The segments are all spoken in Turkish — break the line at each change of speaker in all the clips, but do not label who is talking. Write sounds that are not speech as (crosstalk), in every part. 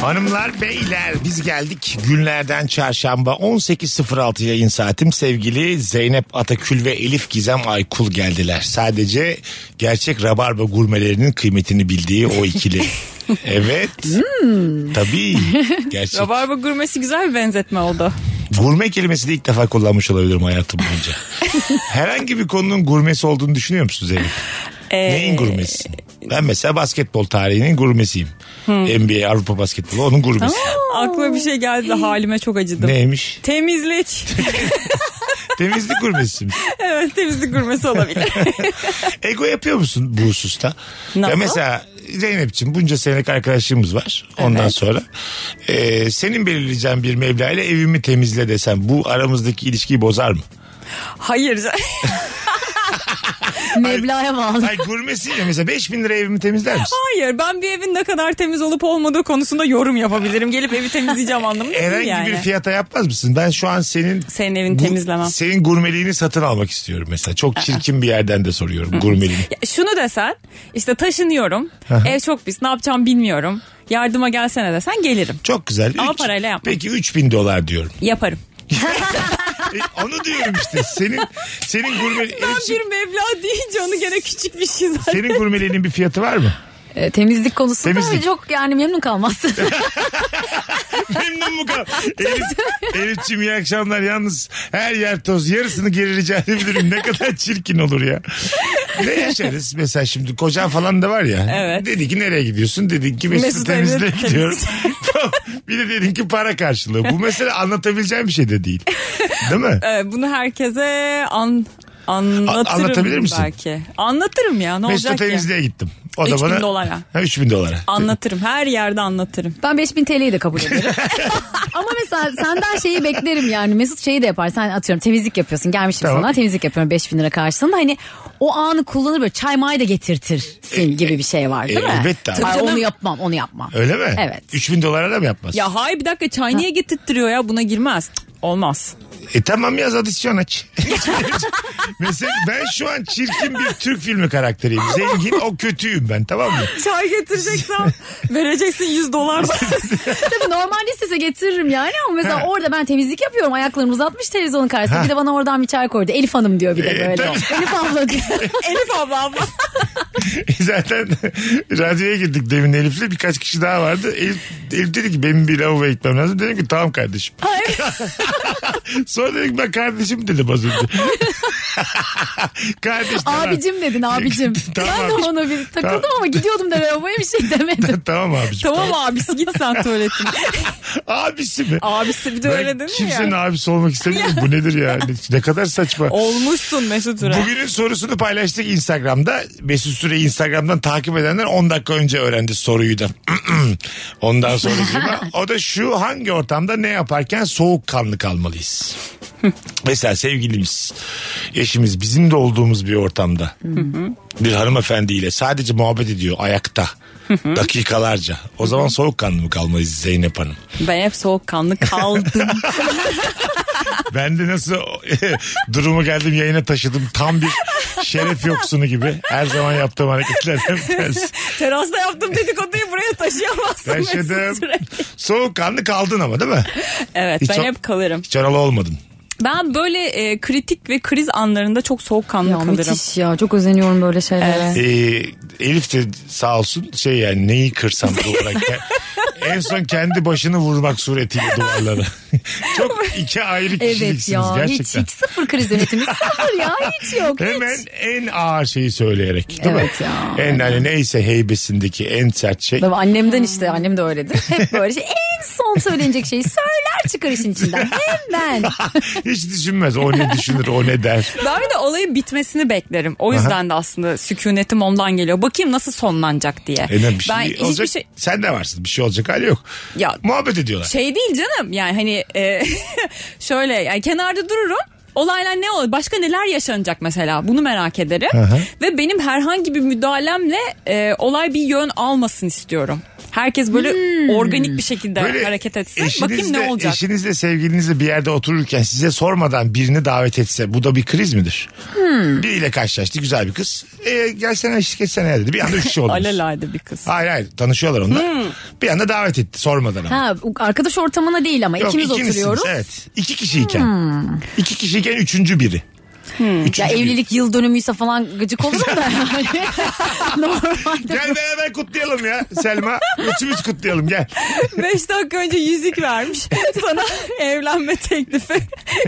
Hanımlar beyler biz geldik günlerden çarşamba 18.06 yayın saatim sevgili Zeynep Atakül ve Elif Gizem Aykul geldiler. Sadece gerçek rabarba gurmelerinin kıymetini bildiği o ikili. Evet. Tabii. Gerçek.
Rabarba gurmesi güzel bir benzetme oldu.
Gurme kelimesini ilk defa kullanmış olabilirim hayatım boyunca. Herhangi bir konunun gurmesi olduğunu düşünüyor musun Zeynep?
Ee,
Neyin gurmesi? Ben mesela basketbol tarihinin gurmesiyim. NBA Avrupa basketbolu onun gurmesi.
Aklıma bir şey geldi de halime çok acıdım.
Neymiş? (laughs)
Temizlik.
Temizlik gurmesi mi?
evet temizlik gurmesi olabilir.
(laughs) Ego yapıyor musun bu hususta? Ya
Nasıl?
mesela Zeynep'ciğim bunca senelik arkadaşlığımız var. Ondan
Evet.
sonra e, senin belirleyeceğin bir meblağ ile evimi temizle desem bu aramızdaki ilişkiyi bozar
(laughs)
mı? (laughs)
Hayır.
Mevla'ya bağlı.
Ay gurmesiyle mesela 5000 lira evimi temizler misin?
Hayır ben bir evin ne kadar temiz olup olmadığı konusunda yorum yapabilirim. Gelip evi temizleyeceğim anlamında değil
Herhangi
yani.
bir fiyata yapmaz mısın? Ben şu an senin
Senin evini temizlemem.
Senin gurmeliğini satın almak istiyorum mesela. Çok çirkin bir yerden de soruyorum gurmeliğini.
Ya Şunu desen işte taşınıyorum. Ev çok pis ne yapacağım bilmiyorum. Yardıma gelsene desen gelirim.
Çok güzel.
Ama
Üç-
parayla yapmam.
Peki 3000 dolar diyorum.
Yaparım.
E, onu diyorum işte. Senin senin gurme
(laughs) Ben
Elif'ciğim,
bir meblağ deyince onu gene küçük bir şey zaten.
senin gurmeliğinin bir fiyatı var mı?
E, temizlik konusunda
Temizlik.
çok yani memnun kalmaz.
(laughs) Memnun mu kal? Elif, Elif'ciğim iyi akşamlar. Yalnız her yer toz. Yarısını geri rica edebilirim. Ne kadar çirkin olur ya. Ne yaşarız? Mesela şimdi kocan falan da var ya.
Evet.
Dedi ki nereye gidiyorsun? Dedi ki Mesut,
Mesut
temizle
(laughs)
Emre
gidiyorum. (laughs) Tamam. bir de dedin ki para karşılığı. Bu mesela anlatabileceğim bir şey de değil. Değil mi?
Ee, bunu herkese an anlatırım
A- anlatabilir misin?
belki. Anlatırım ya ne
Mesut'a
olacak ki?
temizliğe gittim. O da
3000
bana...
dolara.
Ha, 3000 dolara.
Anlatırım her yerde anlatırım.
Ben 5000 TL'yi de
(laughs)
kabul ederim. Ama mesela senden şeyi beklerim yani. Mesut şeyi de yapar. Sen atıyorum temizlik yapıyorsun. Gelmişim
Tamam.
sana temizlik yapıyorum 5000 lira karşılığında. Hani o anı kullanır böyle çay may da getirtirsin gibi bir şey var değil
e,
mi?
elbette abi.
Ay,
Tabii canım.
onu yapmam onu yapmam.
Öyle mi?
Evet.
3000 dolara da mı yapmaz?
Ya hay bir dakika çay niye getirttiriyor ya buna girmez. Cık, Olmaz.
E tamam yaz adisyon aç. (laughs) Mesela ben şu an çirkin bir Türk filmi karakteriyim. Zengin o kötüyüm ben tamam mı? (laughs)
Çay getireceksen (laughs) vereceksin 100 dolar.
(laughs) Tabii normalde istese getiririm yani ama mesela
Ha.
orada ben temizlik yapıyorum. Ayaklarımı uzatmış televizyonun karşısında. Bir de bana oradan bir çay koydu. Elif Hanım diyor bir de
E,
böyle.
tabii.
Elif
(laughs)
abla diyor.
(laughs) Elif abla abla.
Zaten radyoya girdik demin Elif'le birkaç kişi daha vardı. Elif, Elif dedi ki benim bir lavaboya gitmem lazım. Dedim ki tamam kardeşim. (laughs) Sonra dedim ki, ben kardeşim dedim az önce. (laughs) Kardeş tamam.
abicim dedin abicim.
Tamam
ben de
abicim.
ona bir takıldım
Tamam.
ama gidiyordum da lavaboya bir şey demedim.
(laughs) tamam abicim.
tamam abisi git sen tuvaletine.
Abisi mi?
Abisi bir de öyle
Ben
değil mi
kimsenin
ya?
abisi olmak istemiyorum. Bu nedir ya? Ne, ne kadar saçma.
Olmuşsun Mesut Üre.
Bugünün sorusunu paylaştık Instagram'da. Mesut Süre'yi Instagram'dan takip edenler 10 dakika önce öğrendi soruyu da. (clears throat) Ondan sonra O da şu hangi ortamda ne yaparken soğukkanlı kalmalıyız? Mesela sevgilimiz, eşimiz bizim de olduğumuz bir ortamda bir hanımefendiyle sadece muhabbet ediyor ayakta dakikalarca. O zaman soğukkanlı mı kalmalıyız Zeynep Hanım?
Ben hep soğukkanlı kaldım.
Ben de nasıl (laughs) durumu geldim yayına taşıdım. Tam bir şeref yoksunu gibi. Her zaman yaptığım
(laughs)
hareketlerden bir tanesi.
(laughs) Terasta yaptım dedikoduyu buraya taşıyamazsın
Taşıdım.
Mesut Üre.
Soğukkanlı kaldın ama değil mi?
Evet
Hiç
ben
o-
hep kalırım.
Hiç oralı olmadın.
Ben böyle e, kritik ve kriz anlarında çok soğukkanlı
Ya
kalırım.
müthiş ya çok özeniyorum böyle şeylere.
Ee, Elif de sağ olsun şey yani neyi kırsam duvara. ke- en son kendi başını vurmak suretiyle duvarlara. (laughs) Çok iki ayrı
Evet
kişiliksiniz
ya hiç,
gerçekten.
hiç sıfır kriz yönetimi sıfır ya hiç yok
Hemen
hiç.
en ağır şeyi söyleyerek değil
Evet
mi?
ya.
En hani neyse heybesindeki en sert şey.
Tabii annemden işte annem de öyledir. Hep böyle şey en son söylenecek şeyi söyler çıkar işin içinden hemen.
(laughs) Hiç düşünmez o ne düşünür o ne der.
Ben bir de olayın bitmesini beklerim. O yüzden de aslında sükunetim ondan geliyor. Bakayım nasıl sonlanacak diye.
E ne bir şey
ben hiçbir
olacak.
şey
Sen de varsın. Bir şey olacak hali yok.
Ya-
Muhabbet ediyorlar.
şey değil canım. Yani hani e, (laughs) şöyle yani kenarda dururum. Olaylar ne olur? Başka neler yaşanacak mesela? Bunu merak ederim. Ve benim herhangi bir müdahalemle e, olay bir yön almasın istiyorum. Herkes böyle organik bir şekilde
Böyle
hareket etsin.
eşinizle-
Bakayım ne olacak.
Eşinizle sevgilinizle bir yerde otururken size sormadan birini davet etse bu da bir kriz midir?
Hmm.
Biriyle karşılaştı güzel bir kız. E, gelsene eşlik etsene ya dedi. Bir anda üç
(laughs)
kişi oldunuz.
Alelade
(laughs)
bir kız.
Hayır hayır tanışıyorlar onlar.
Hmm.
Bir anda davet etti sormadan ama.
Ha, arkadaş ortamına değil ama
Yok,
ikimiz
ikinizsiniz,
oturuyoruz.
Evet. İki kişiyken.
Hmm.
İki kişiyken üçüncü biri. Üçüncü
Ya
biri.
evlilik yıl dönümüyse falan gıcık olurum da
(laughs)
yani. Normalde
Gel beraber kutlayalım ya Selma. Üçümüz kutlayalım gel.
Beş dakika önce yüzük vermiş sana (laughs) evlenme teklifi.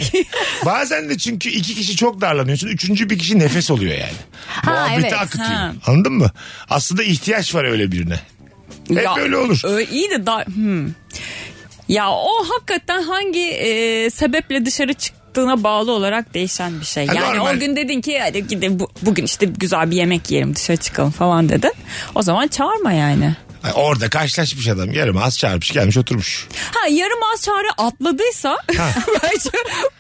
(laughs) Bazen de çünkü iki kişi çok darlanıyorsun. Üçüncü bir kişi nefes oluyor yani.
Ha,
Muhabbeti
evet,
akıtıyor.
ha.
Anladın mı? Aslında ihtiyaç var öyle birine. Hep öyle olur.
Ö, e, iyi de da, hmm. Ya o hakikaten hangi e, sebeple dışarı çıktığına bağlı olarak değişen bir şey.
Ha,
yani
normal.
o gün dedin ki hadi gidelim bu- bugün işte güzel bir yemek yiyelim dışarı çıkalım falan dedin. O zaman çağırma yani.
Ha, Orada karşılaşmış adam yarım az çağırmış gelmiş oturmuş.
Ha yarım az çare atladıysa (laughs) bence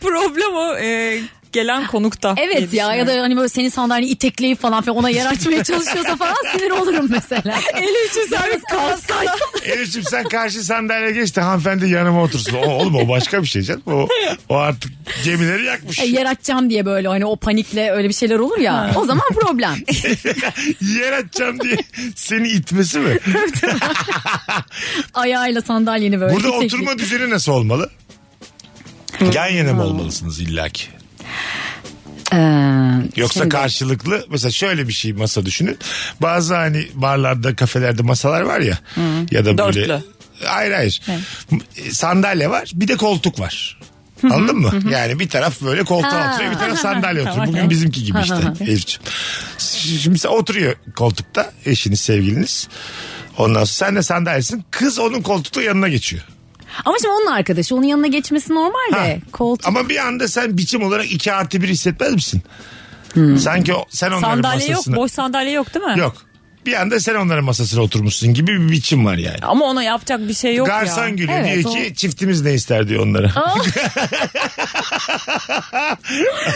problem o e, gelen konukta. diye
Evet ya ya da hani böyle senin sandalyeyi itekleyip falan filan ona yer açmaya çalışıyorsa falan sinir olurum mesela. (laughs)
Eli üçü servis kalsaydı.
Elif'ciğim sen karşı sandalyeye geç de hanımefendi yanıma otursun. O, oğlum o başka bir şey canım. O, o artık gemileri yakmış.
E, yer açacağım diye böyle hani o panikle öyle bir şeyler olur ya o zaman
(laughs)
problem.
Yer açacağım diye seni itmesi mi?
Ayağıyla sandalyeni böyle. Hmm.
Burada
itekleyip.
oturma düzeni nasıl olmalı? Yan yana mı olmalısınız illaki?
Ee,
Yoksa karşılıklı mesela şöyle bir şey masa düşünün. Bazı hani barlarda kafelerde masalar var ya
Hmm.
ya da böyle.
Dörtlü.
Hayır hayır. M- Sandalye var bir de koltuk var. Anladın mı? Yani bir taraf böyle koltuğa
Ha.
oturuyor bir taraf sandalye oturuyor. Bugün bizimki gibi işte Elif'ciğim. Şimdi sen oturuyor koltukta eşiniz sevgiliniz. Ondan sonra sen de sandalyesin. Kız onun koltukta yanına geçiyor.
Ama şimdi onun arkadaşı onun yanına geçmesi normal
Ha.
de. Koltuk.
Ama bir anda sen biçim olarak iki artı bir hissetmez misin? Sanki o, sen onların
Sandalye yok
masasına...
boş sandalye yok değil mi?
Yok. Bir anda sen onların masasına oturmuşsun gibi bir biçim var yani.
Ama ona yapacak bir şey yok
Garson
ya.
gülüyor
Evet,
diyor ki çiftimiz ne ister diyor onlara.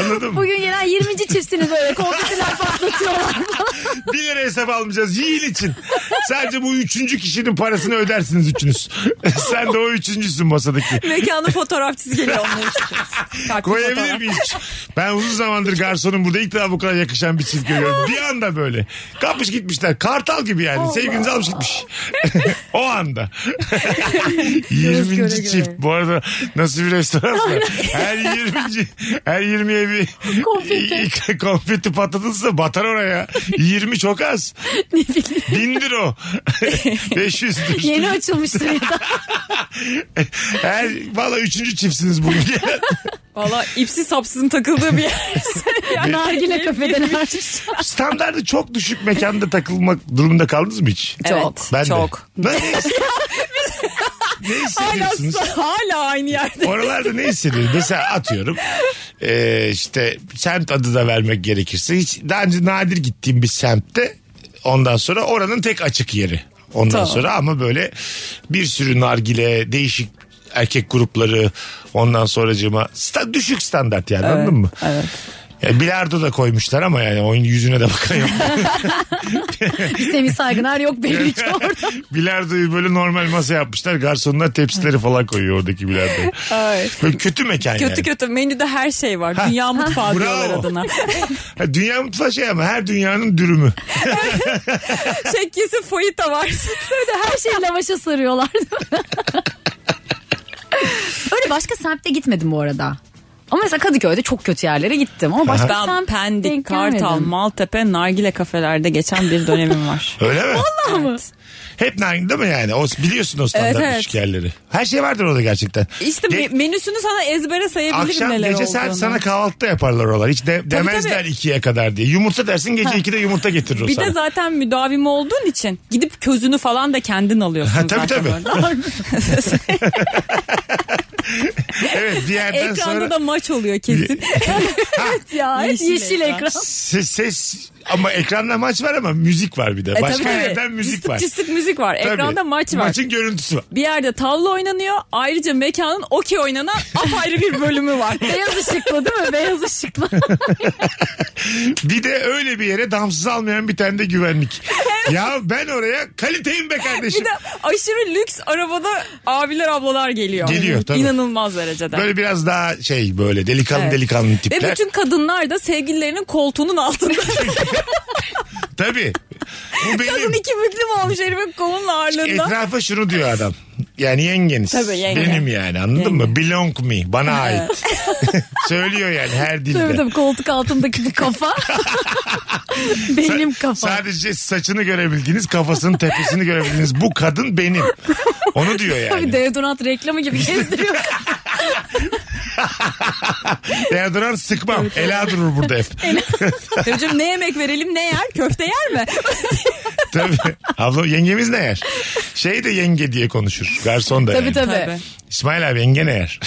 Anladın mı?
Bugün gelen 20. çiftsiniz böyle konfetiler patlatıyorlar.
(laughs) bir lira hesap almayacağız yiyin için. Sadece bu üçüncü kişinin parasını ödersiniz üçünüz. (laughs) sen de o üçüncüsün masadaki.
Mekanın fotoğrafçısı
(laughs)
geliyor onların için. Kalkın
Koyabilir
fotoğraf.
miyiz? (laughs) Ben uzun zamandır garsonum burada ilk defa bu kadar yakışan bir çift görüyorum. Bir anda böyle. Kapış gitmişler. Kartal gibi yani. Sevgilinizi almış
(laughs)
gitmiş. o anda. (laughs) 20.
göre
çift.
göre.
Bu arada nasıl bir restoran var? Her 20. Her 20'ye bir (laughs) konfeti, konfeti patlatılsa batar oraya. 20 çok az.
(laughs) ne bileyim.
Bindir o.
(laughs)
500'dür.
Yeni açılmıştır ya da.
Her, valla üçüncü çiftsiniz bugün.
(laughs)
Valla ipsi sapsızın takıldığı bir yer.
Nargile kafeden açmış.
Standartı çok düşük mekanda takılmak durumunda kaldınız mı hiç?
Çok.
Ben (laughs)
çok.
De. Ben ne
Hala,
hissediyorsunuz?
hala
(laughs)
aynı yerde.
Oralarda ne hissediyorsunuz? Mesela atıyorum eee, işte semt adı da vermek gerekirse hiç daha önce nadir gittiğim bir semtte ondan sonra oranın tek açık yeri. Ondan
Tamam.
sonra ama böyle bir sürü nargile değişik erkek grupları ondan sonracığıma sta- düşük standart yani anladın mı?
Evet.
Ya bilardo da koymuşlar ama yani oyun yüzüne de bakan yok.
Semih Saygınar yok
(laughs)
belli ki orada.
Bilardoyu böyle normal masa yapmışlar. Garsonlar tepsileri falan koyuyor oradaki bilardoya.
Ay.
Böyle kötü mekan
Kötü
yani.
kötü menüde her şey var. Dünya
Bravo.
mutfağı diyorlar
(laughs)
adına.
Ha, dünya mutfağı şey ama her dünyanın dürümü.
Şekkesi foyita Şey, var.
Böyle her şeyi lavaşa sarıyorlar. (laughs) Öyle başka semtte gitmedim bu arada. Ama mesela Kadıköy'de çok kötü yerlere gittim. Ama başka
ben
semt
Pendik,
denk
Kartal,
gelmedim.
Maltepe, Nargile kafelerde geçen bir dönemim var.
Öyle mi? Vallahi mı? Hep narin değil mi yani? O, biliyorsun o standart
Evet, evet.
düşük yerleri. Her şey vardır orada gerçekten.
(laughs) İşte
Ge-
me- menüsünü sana ezbere sayabilirim
Akşam
neler
gece
olduğunu.
saat sana kahvaltıda yaparlar oralar. Hiç de- demezler
tabii.
ikiye kadar diye. Yumurta dersin gece ikide yumurta getirir o
Bir
sana.
de zaten müdavim olduğun için gidip közünü falan da kendin alıyorsun.
Ha, tabii,
zaten
tabii. (laughs)
orada. (laughs)
evet bir yerden
Ekranda
sonra
da maç oluyor kesin.
Ya, hep
Yeşil
yeşil
ekran.
ekran.
ses, ses ama ekranda maç var ama müzik var bir de.
E,
Başka
tabii, tabii.
yerden müzik
Cıstık
var.
cıstık müzik var.
Tabii.
Ekranda maç var.
Maçın görüntüsü var.
Bir yerde tavla oynanıyor. Ayrıca mekanın okey oynanan (laughs) apayrı bir bölümü var.
Beyaz ışıklı değil mi? Beyaz ışıklı.
Bir de öyle bir yere damsız almayan bir tane de güvenlik. ya ben oraya kaliteyim be kardeşim.
Bir de (laughs) aşırı lüks arabada abiler ablalar geliyor.
Geliyor, tabii.
İnanılmaz derecede.
Böyle biraz daha şey böyle delikanlı
Evet.
delikanlı
Ve
tipler.
bütün kadınlar da sevgililerinin koltuğunun altında.
Tabii. Bu
(laughs) Kadın
benim.
iki büklüm olmuş herifin kolunun ağırlığında.
Etrafa şunu diyor adam. Yani yengeniz.
Tabii, yenge.
Benim yani anladın mı? Belong me. Bana ait. (laughs) Söylüyor yani her dilde.
tabii tabii koltuk altındaki bu kafa. Benim
Sa-
kafam.
Sadece saçını görebildiğiniz, kafasının tepesini görebildiğiniz bu kadın benim. Onu diyor
Tabii
yani.
deodorant reklamı gibi gezdiriyor.
Deodorant sıkmam. Ela durur burada hep.
Tabii canım, ne yemek verelim ne yer köfte yer mi?
Tabii. Abla yengemiz ne yer? Şey de yenge diye konuşur. Garson da
tabii
yani.
tabii.
İsmail abi yenge ne yer?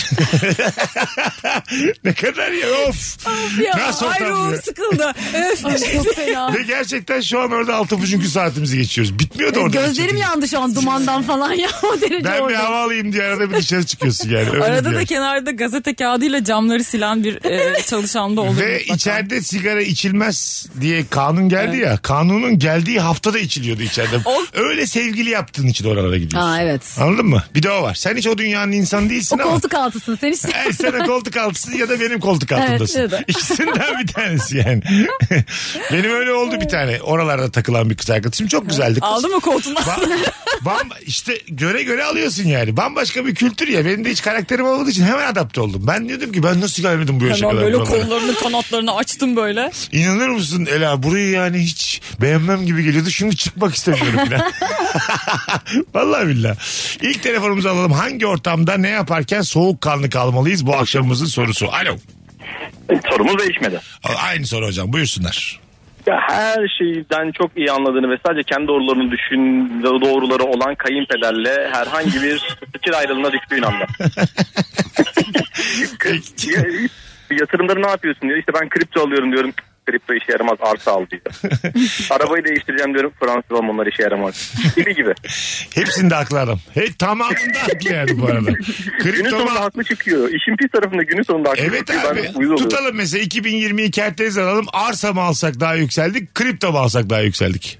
(laughs) ne kadar ya of.
ya,
Nasıl
ay
ortam
ruhum
ya?
sıkıldı. Öf.
Ay, çok fena.
Ve gerçekten şu an orada altı buçuk saatimizi geçiyoruz. Bitmiyor da orada.
E, Gözlerim yandı şu an dumandan falan ya o derece
Ben bir
orada.
hava alayım diye arada bir dışarı çıkıyorsun yani. Öyle
Arada da
diyorum.
kenarda gazete kağıdıyla camları silen bir e, çalışan da olur.
Ve
mutlaka.
içeride sigara içilmez diye kanun geldi ya. Kanunun geldiği haftada içiliyordu içeride.
O-
Öyle sevgili yaptığın için oralara gidiyorsun.
Aa, evet.
Anladın mı? Bir de o var. Sen hiç o dünyanın insanı değilsin
O
ama.
koltuk altısın sen (laughs) işte.
Her sene koltuk altısın ya da benim koltuk altındasın.
Evet, ya da.
(laughs) İkisinden bir tanesi yani. (laughs) benim öyle oldu bir tane. Oralarda takılan bir kız arkadaşım. Çok güzeldi kız.
Aldı mı koltuğunu?
Bam, bam, işte göre göre alıyorsun yani. Bambaşka bir kültür ya. Benim de hiç karakterim olmadığı için hemen adapte oldum. Ben diyordum ki ben nasıl gelmedim bu yaşa
Hemen
kadar.
böyle
buralara?
kollarını kanatlarını açtım böyle.
İnanır mısın Ela burayı yani hiç beğenmem gibi geliyordu. Şimdi çıkmak istemiyorum falan. (laughs) Vallahi billahi. İlk telefonumuzu alalım. Hangi ortamda ne yaparken soğukkanlı kalmalıyız bu akşamımızın sorusu. Alo. E,
Sorumuz değişmedi.
A- Aynı soru hocam buyursunlar.
Ya her şeyden çok iyi anladığını ve sadece kendi doğrularını düşün doğruları olan kayınpederle herhangi
(laughs)
bir fikir ayrılığına düştüğün anda. Kız, ya- yatırımları ne yapıyorsun diyor. İşte ben kripto alıyorum diyorum. Kripto işe yaramaz arsa al
(laughs)
diyor. Arabayı değiştireceğim diyorum. Fransız onlar işe yaramaz. Gibi gibi.
Hepsinde haklı adam. He, tamamında haklı yani bu arada.
Günün
Kripto
sonunda haklı çıkıyor. İşin pis tarafında günün sonunda haklı
Evet
çıkıyor.
abi
ben uyuz oluyorum.
tutalım mesela 2022 kerteniz alalım arsa mı alsak daha yükseldik kripto mu alsak daha yükseldik.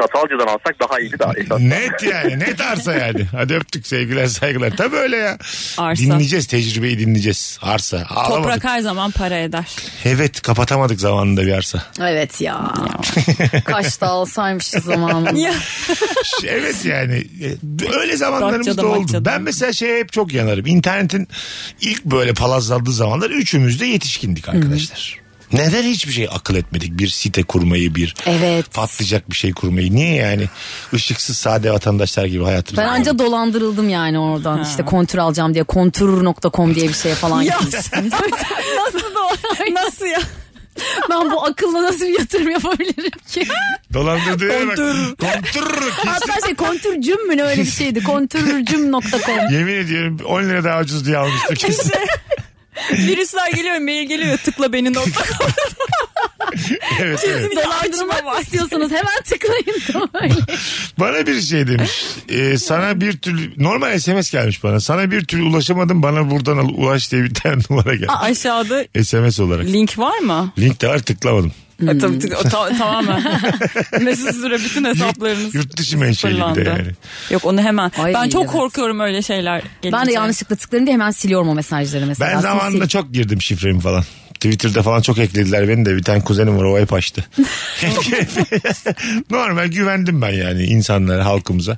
Çatalca'dan alsak daha iyiydi daha esas.
Net yani net arsa yani. Hadi öptük sevgiler saygılar. Tabii öyle ya.
Arsa.
Dinleyeceğiz tecrübeyi dinleyeceğiz. Arsa. Ağlamadık.
Toprak her zaman
(laughs)
para eder.
Evet kapatamadık zamanında bir arsa.
Evet ya. Kaçta alsaymışız zamanında.
Ya.
Ş- evet yani e, öyle zamanlarımız
Datça'da,
da oldu.
Matça'da.
Ben mesela şeye hep çok yanarım. İnternetin ilk böyle palazlandığı zamanlar üçümüz de yetişkindik arkadaşlar. Neden hiçbir şey akıl etmedik? Bir site kurmayı, bir
Evet.
patlayacak bir şey kurmayı. Niye yani? Işıksız sade vatandaşlar gibi hayatımızı
Ben anca dolandırıldım yani oradan. İşte kontür alacağım diye kontur.com diye bir şeye falan
Ya.
(laughs) gitmiştim.
Nasıl da o?
(laughs)
Nasıl ya?
ben bu akılla nasıl bir yatırım yapabilirim ki?
Dolandırdığı yere bak.
Kontür.
Kontür.
Hatta şey kontürcüm mü ne öyle bir şeydi. Kontürcüm.com.
Yemin ediyorum 10 lira daha ucuz diye almıştır kesin. (laughs)
Virüsler geliyor, mail geliyor. Tıkla
(laughs)
beni nokta.
evet, evet.
Dolandırma var.
İstiyorsanız hemen tıklayın. Tamam.
Bana bir şey demiş. Ee, sana bir türlü normal SMS gelmiş bana. Sana bir türlü ulaşamadım bana buradan al, ulaş diye bir tane (laughs) numara geldi.
Aşağıda
SMS olarak.
link var mı?
Link de var tıklamadım.
E, tabii, tabii, o ta- tamamen.
(laughs)
Mesut Süre bütün hesaplarınız.
Yurt dışı menşeli bir de
sıfırlandı.
yani.
Yok onu hemen.
Ay,
ben çok
evet.
korkuyorum öyle şeyler gelince.
ben de yanlışlıkla tıklarım diye hemen siliyorum o mesajları mesela.
Ben zamanında
Sil-
çok girdim şifremi falan. Twitter'da falan çok eklediler beni de bir tane kuzenim var o hep açtı.
(laughs)
Normal güvendim ben yani insanlara halkımıza.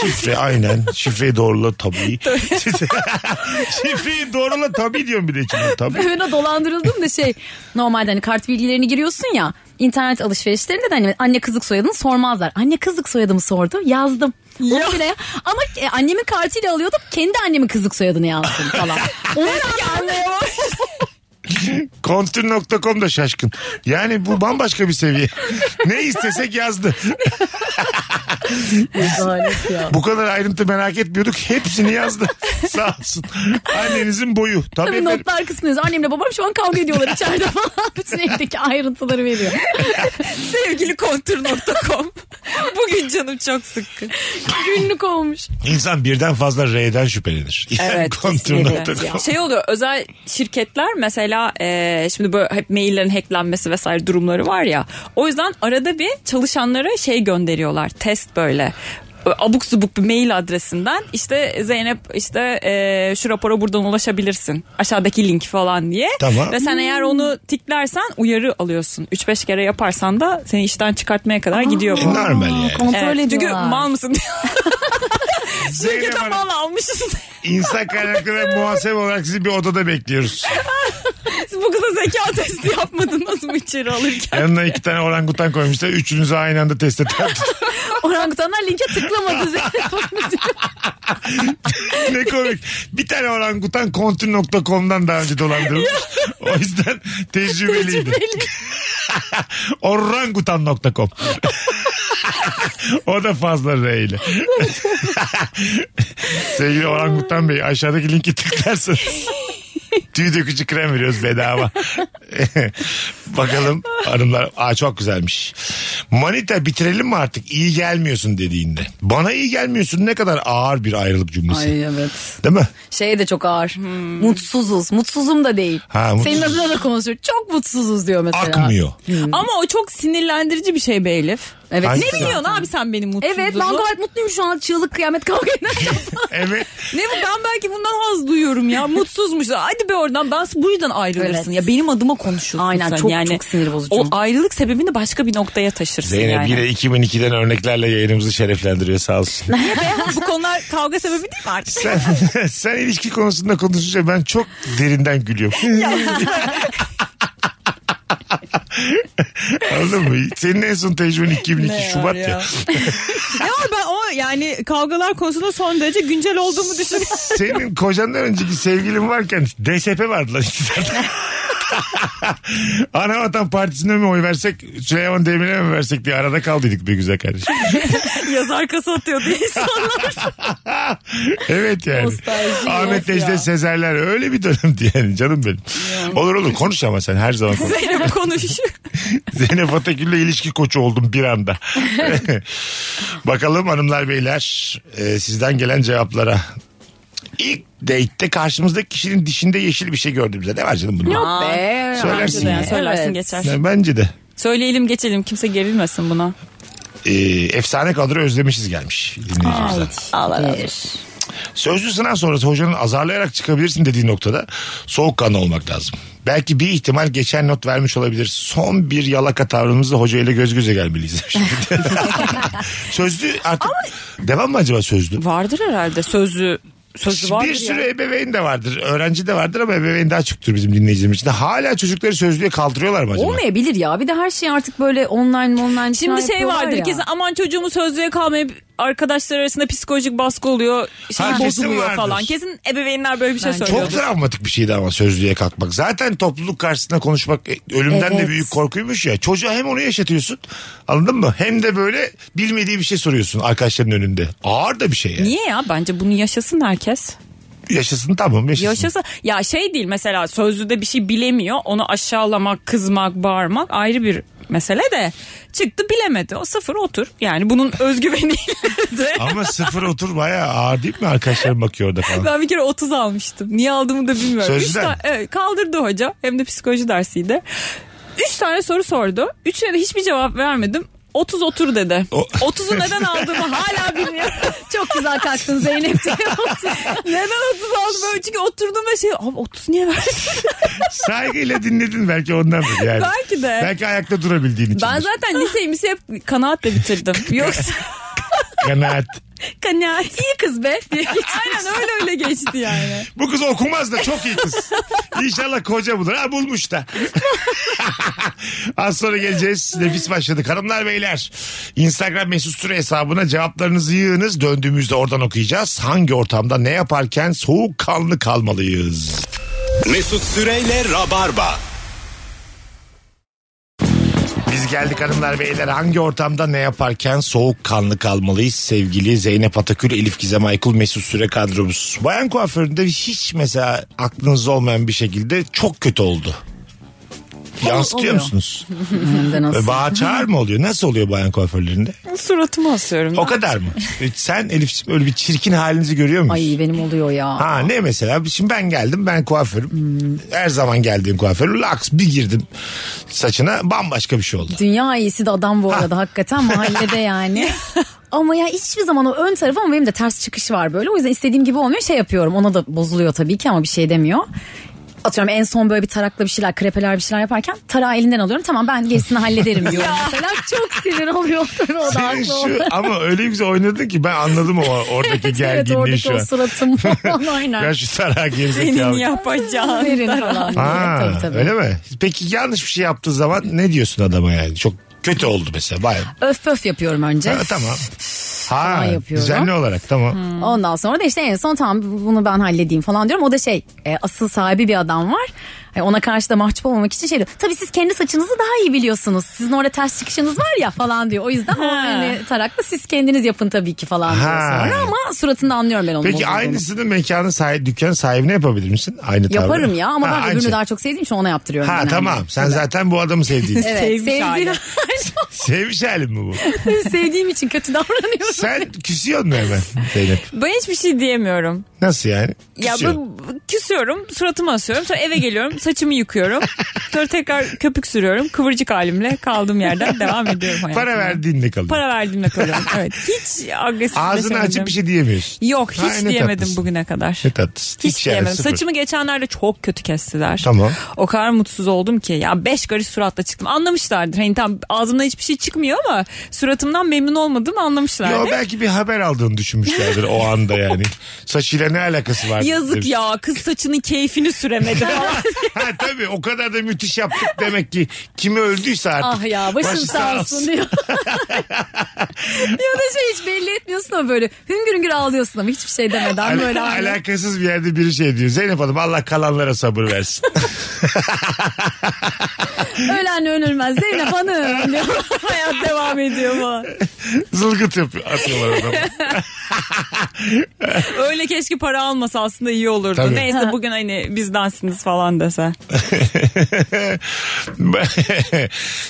Şifre aynen şifreyi doğrula tabii. (laughs) şifreyi doğrula tabii diyorum bir de içimde tabii.
Ben o dolandırıldım da şey normalde hani kart bilgilerini giriyorsun ya internet alışverişlerinde de hani anne kızlık soyadını sormazlar. Anne kızlık soyadımı sordu yazdım. Onu bile ama e, annemin kartıyla alıyordum kendi annemin kızlık soyadını yazdım falan. Onu da anlayamam.
Kontür.com da şaşkın. Yani bu bambaşka bir seviye. ne istesek yazdı.
Rezalet ya.
Bu kadar ayrıntı merak etmiyorduk. Hepsini yazdı. Sağ olsun. Annenizin boyu. Tabii,
Tabii
efendim.
notlar kısmı yazıyor. Annemle babam şu an kavga ediyorlar içeride (laughs) falan. Bütün evdeki ayrıntıları veriyor.
Sevgili
(laughs)
kontur.com. Bugün canım çok sıkkın.
Günlük olmuş.
İnsan birden fazla R'den şüphelenir. Yani (laughs)
Evet,
Kontür.com.
Şey oluyor özel şirketler mesela e, şimdi böyle hep maillerin hacklenmesi vesaire durumları var ya. O yüzden arada bir çalışanlara şey gönderiyorlar test böyle Böyle abuk subuk bir mail adresinden işte Zeynep işte e, şu rapora buradan ulaşabilirsin aşağıdaki link falan diye.
Tamam.
Ve sen eğer onu tiklersen uyarı alıyorsun. 3-5 kere yaparsan da seni işten çıkartmaya kadar gidiyor bu.
Normal yani.
Kontrol
Evet, çünkü
ediyorlar.
mal mısın diye.
Zeynep
Şirketten
Hanım,
(laughs) mal almışsın.
insan kaynakları ve muhasebe olarak sizi bir odada bekliyoruz.
Siz bu kıza zeka testi yapmadınız mı içeri alırken?
Yanına iki tane orangutan koymuşlar. Üçünüzü aynı anda test eder.
Orangutanlar linke tıklamadı. (laughs)
(laughs) ne komik. Bir tane orangutan kontür.com'dan daha önce dolandırılmış. o yüzden tecrübeliydi. orangutan.com (laughs) O da fazla R ile. Sevgili Orangutan Bey aşağıdaki linki tıklarsanız tüy dökücü krem veriyoruz bedava. (laughs) Bakalım hanımlar. Aa çok güzelmiş. Manita bitirelim mi artık? İyi gelmiyorsun dediğinde. Bana iyi gelmiyorsun ne kadar ağır bir ayrılık cümlesi.
evet.
Değil mi?
Şey de çok ağır.
Hmm.
Mutsuzuz. Mutsuzum da değil.
Ha, mutsuz.
Senin adına da konuşuyor. Çok mutsuzuz diyor mesela.
Akmıyor.
Ama o çok sinirlendirici bir şey be Elif.
Evet.
Ay,
Ne
Ne
Güzel.
biliyorsun abi sen benim mutsuzluğumu?
Evet ben gayet mutluyum şu an çığlık kıyamet kavga
(laughs)
ederken.
(laughs) Evet.
Ne bu ben belki bundan haz duyuyorum ya. Mutsuzmuş. Hadi be oradan ben bu yüzden ayrılırsın.
Evet.
Ya benim adıma konuşuyorsun
Aynen,
sen
çok-
yani.
çok sinir bozucu.
O (laughs) ayrılık sebebini başka bir noktaya taşırsın
Zeynep
yani.
yine 2002'den örneklerle yayınımızı şereflendiriyor sağ olsun.
bu konular kavga sebebi değil mi
(laughs)
artık?
sen, sen ilişki konusunda konuşunca ben çok derinden
(laughs)
gülüyorum. (laughs) Anladın mı? Senin en son tecrüben 2002
Ne
Şubat
var
ya.
ya? Ne var ben o yani kavgalar konusunda son derece güncel olduğumu düşünüyorum.
(laughs) Senin kocandan önceki sevgilin varken DSP vardı lan iki
(laughs)
tane. Anavatan Partisi'ne mi oy versek Süleyman Demirel'e mi versek diye arada kaldıydık bir güzel kardeşim.
Yazar kasa atıyor
(laughs)
diye insanlar.
evet yani.
Nostalji,
Ahmet
of ya.
Necdet Sezerler öyle bir dönemdi (laughs) yani canım benim. Olur olur konuş ama sen her zaman
(laughs)
konuş.
Zeynep konuş.
Zeynep Atakül'le ilişki koçu oldum bir anda. (laughs) Bakalım hanımlar beyler e, sizden gelen cevaplara. İlk date'te karşımızdaki kişinin dişinde yeşil bir şey gördüm bize. Ne var canım bunda?
Yok be.
Söylersin
Bence de,
ya.
Söylersin
evet.
geçer.
Yani bence de.
Söyleyelim geçelim kimse gerilmesin buna.
E, efsane kadro özlemişiz gelmiş dinleyicimizden.
Bir.
Sözlü sınav sonrası hocanın azarlayarak çıkabilirsin dediği noktada soğukkanlı olmak lazım. Belki bir ihtimal geçen not vermiş olabilir. Son bir yalaka tavrımızla hocayla göz göze gelmeliyiz. (laughs) demiş. sözlü artık devam mı acaba sözlü?
Vardır herhalde sözlü. Sözlü vardır
bir sürü
ya.
ebeveyn de vardır. Öğrenci de vardır ama ebeveyn daha çoktur bizim dinleyicilerimiz için. Hala çocukları sözlüğe kaldırıyorlar mı acaba?
Olmayabilir ya. Bir de her şey artık böyle online online.
Şimdi şey vardır kesin aman çocuğumu sözlüğe kalmayıp arkadaşlar arasında psikolojik baskı oluyor. Şey
Ha, kesin vardır.
bozuluyor falan. Kesin ebeveynler böyle bir şey
Bence.
söylüyor.
Çok travmatik bir şeydi ama sözlüğe kalkmak. Zaten topluluk karşısında konuşmak e, ölümden de
Evet.
büyük korkuymuş ya. Çocuğa hem onu yaşatıyorsun anladın mı? Hem de böyle bilmediği bir şey soruyorsun arkadaşların önünde. Ağır da bir şey yani.
Niye ya? Bence bunu yaşasın herkes.
Yaşasın tamam yaşasın.
Yaşasa ya şey değil mesela sözlüde bir şey bilemiyor. Onu aşağılamak, kızmak, bağırmak ayrı bir mesele de çıktı bilemedi. O sıfır otur. Yani bunun özgüveniyle de.
Ama sıfır otur bayağı ağır değil mi arkadaşların bakıyor orada
(laughs)
falan.
Ben bir kere 30 almıştım. Niye aldığımı da bilmiyorum.
Sözlüden
Üç
mi?
tane- evet, kaldırdı hoca. Hem de psikoloji dersiydi. 3 tane soru sordu. Üçüne de hiçbir cevap vermedim. 30 otur dedi.
O-
30'u neden aldığımı hala bilmiyorum.
(laughs) Çok güzel kalktın Zeynep diye.
(laughs) neden 30 aldım böyle çünkü oturdum ve şey abi 30 niye verdin?
Saygıyla dinledin belki ondandır yani.
Belki de.
Belki ayakta durabildiğin için.
Ben zaten liseyi misi hep kanaatle bitirdim. Yoksa
Kanaat.
kanaat. İyi kız be. (laughs) Aynen öyle öyle geçti yani.
(laughs) Bu kız okumaz da çok iyi kız. İnşallah koca bulur. Ha bulmuş da. Az sonra geleceğiz. Nefis başladık. Hanımlar beyler. Instagram mesut süre hesabına cevaplarınızı yığınız. Döndüğümüzde oradan okuyacağız. Hangi ortamda ne yaparken soğukkanlı kalmalıyız?
Mesut Süreyle Rabarba.
Biz geldik hanımlar beyler. Hangi ortamda ne yaparken soğukkanlı kalmalıyız? Sevgili Zeynep Atakül, Elif Gizem Aykul, Mesut Süre kadromuz. Bayan kuaföründe hiç mesela aklınız olmayan bir şekilde çok kötü oldu. Yansıtıyor
oluyor.
musunuz?
Benden
Ve
olsun.
Bağ çağır mı oluyor? Nasıl oluyor bayan kuaförlerinde?
Suratımı asıyorum.
O kadar mı? E, Sen Elif öyle bir çirkin halinizi görüyor musun?
Ay benim oluyor ya.
Ha ne mesela? Şimdi ben geldim ben kuaförüm.
Hmm.
Her zaman geldiğim kuaförüm. Laks bir girdim saçına bambaşka bir şey oldu.
Dünya iyisi de adam bu arada
(laughs)
hakikaten mahallede yani. Ama ya hiçbir zaman o ön tarafı ama benim de ters çıkışı var böyle. O yüzden istediğim gibi olmuyor şey yapıyorum. Ona da bozuluyor tabii ki ama bir şey demiyor. Atıyorum en son böyle bir tarakla bir şeyler krepeler bir şeyler yaparken tarağı elinden alıyorum. Tamam ben gerisini hallederim diyorum mesela. Çok sinir oluyor. Tabii o da
Senin
haklı
şu, (laughs)
oldu.
ama öyle güzel oynadın ki ben
(laughs)
anladım o oradaki
Evet
gerginliği
oradaki
şu
o
an. (laughs)
suratım falan aynen.
Ya şu tarağa
Senin
gerizekalı.
yapacağın.
Verin falan.
Ha,
tabii tabii.
Öyle mi? Peki yanlış bir şey yaptığı zaman ne diyorsun adama yani? Çok kötü oldu mesela bayağı.
Öf pöf yapıyorum önce.
Ha, tamam. Ha,
Falan yapıyorum. Hmm,
düzenli olarak tamam.
Ondan sonra da işte en son tamam bunu ben halledeyim falan diyorum. O da şey e, asıl sahibi bir adam var. E, ona karşı da mahcup olmamak için şey diyor. Tabii siz kendi saçınızı daha iyi biliyorsunuz. Sizin orada ters çıkışınız var ya falan diyor. O yüzden o hani tarakla siz kendiniz yapın tabii ki falan diyor
Ha.
sonra. Ama suratında anlıyorum ben onu.
Peki aynısını mekanın sahibi, dükkan sahibine yapabilir misin? Aynı tavrı.
Yaparım ya ama
Ha,
ben
aynı
öbürünü
şey.
daha çok sevdiğim için ona yaptırıyorum.
Ha
genelde. (laughs)
tamam sen zaten bu adamı sevdiğin.
Evet,
Sevmiş
sevdiğim,
hali.
Sevmiş halin mi bu?
sevdiğim için kötü
(laughs)
davranıyorum.
Sen küsüyorsun mu hemen Zeynep?
Ben hiçbir şey diyemiyorum.
Nasıl yani?
Ya
Küsüyor.
bu bu- küsüyorum, suratımı asıyorum, sonra eve geliyorum, saçımı yıkıyorum. Sonra tekrar köpük sürüyorum, kıvırcık halimle kaldığım yerden devam ediyorum hayatıma.
Para verdiğinde kalıyor.
Para verdiğimle kalıyorum. Evet. Hiç agresif
Ağzını açıp bir şey diyemiyorsun.
Yok hiç
Ay, ne
diyemedim
tatlısın.
bugüne kadar.
Ne tatlısın.
Hiç,
Hiç yani,
diyemedim.
sıfır.
Saçımı geçenlerde çok kötü kestiler.
Tamam.
O kadar mutsuz oldum ki ya beş karış suratla çıktım. Anlamışlardır. Hani tam ağzımdan hiçbir şey çıkmıyor ama suratımdan memnun olmadığımı anlamışlardır.
Yo, belki bir haber aldığını düşünmüşlerdir o anda
(laughs)
yani. Saçıyla ne alakası var?
Yazık
demiş.
ya kız saçının keyfini süremedi falan.
(laughs) ha, tabii o kadar da müthiş yaptık demek ki. Kimi öldüyse artık.
Ah ya başın
Başı
(laughs)
sağ olsun diyor. (laughs) ya da şey hiç belli etmiyorsun ama böyle hüngür hüngür ağlıyorsun ama hiçbir şey demeden
Al-
böyle ağlıyor.
alakasız bir yerde biri şey diyor. Zeynep Hanım Allah kalanlara sabır versin. (laughs)
Ölen ölülmez Zeynep
(laughs)
Hanım diyor.
Hayat devam ediyor falan.
Zılgıt yapıyor. Atıyorlar adamı. (laughs)
Öyle keşke para almasa aslında iyi olurdu.
Tabii.
Neyse bugün hani bizdansınız falan dese.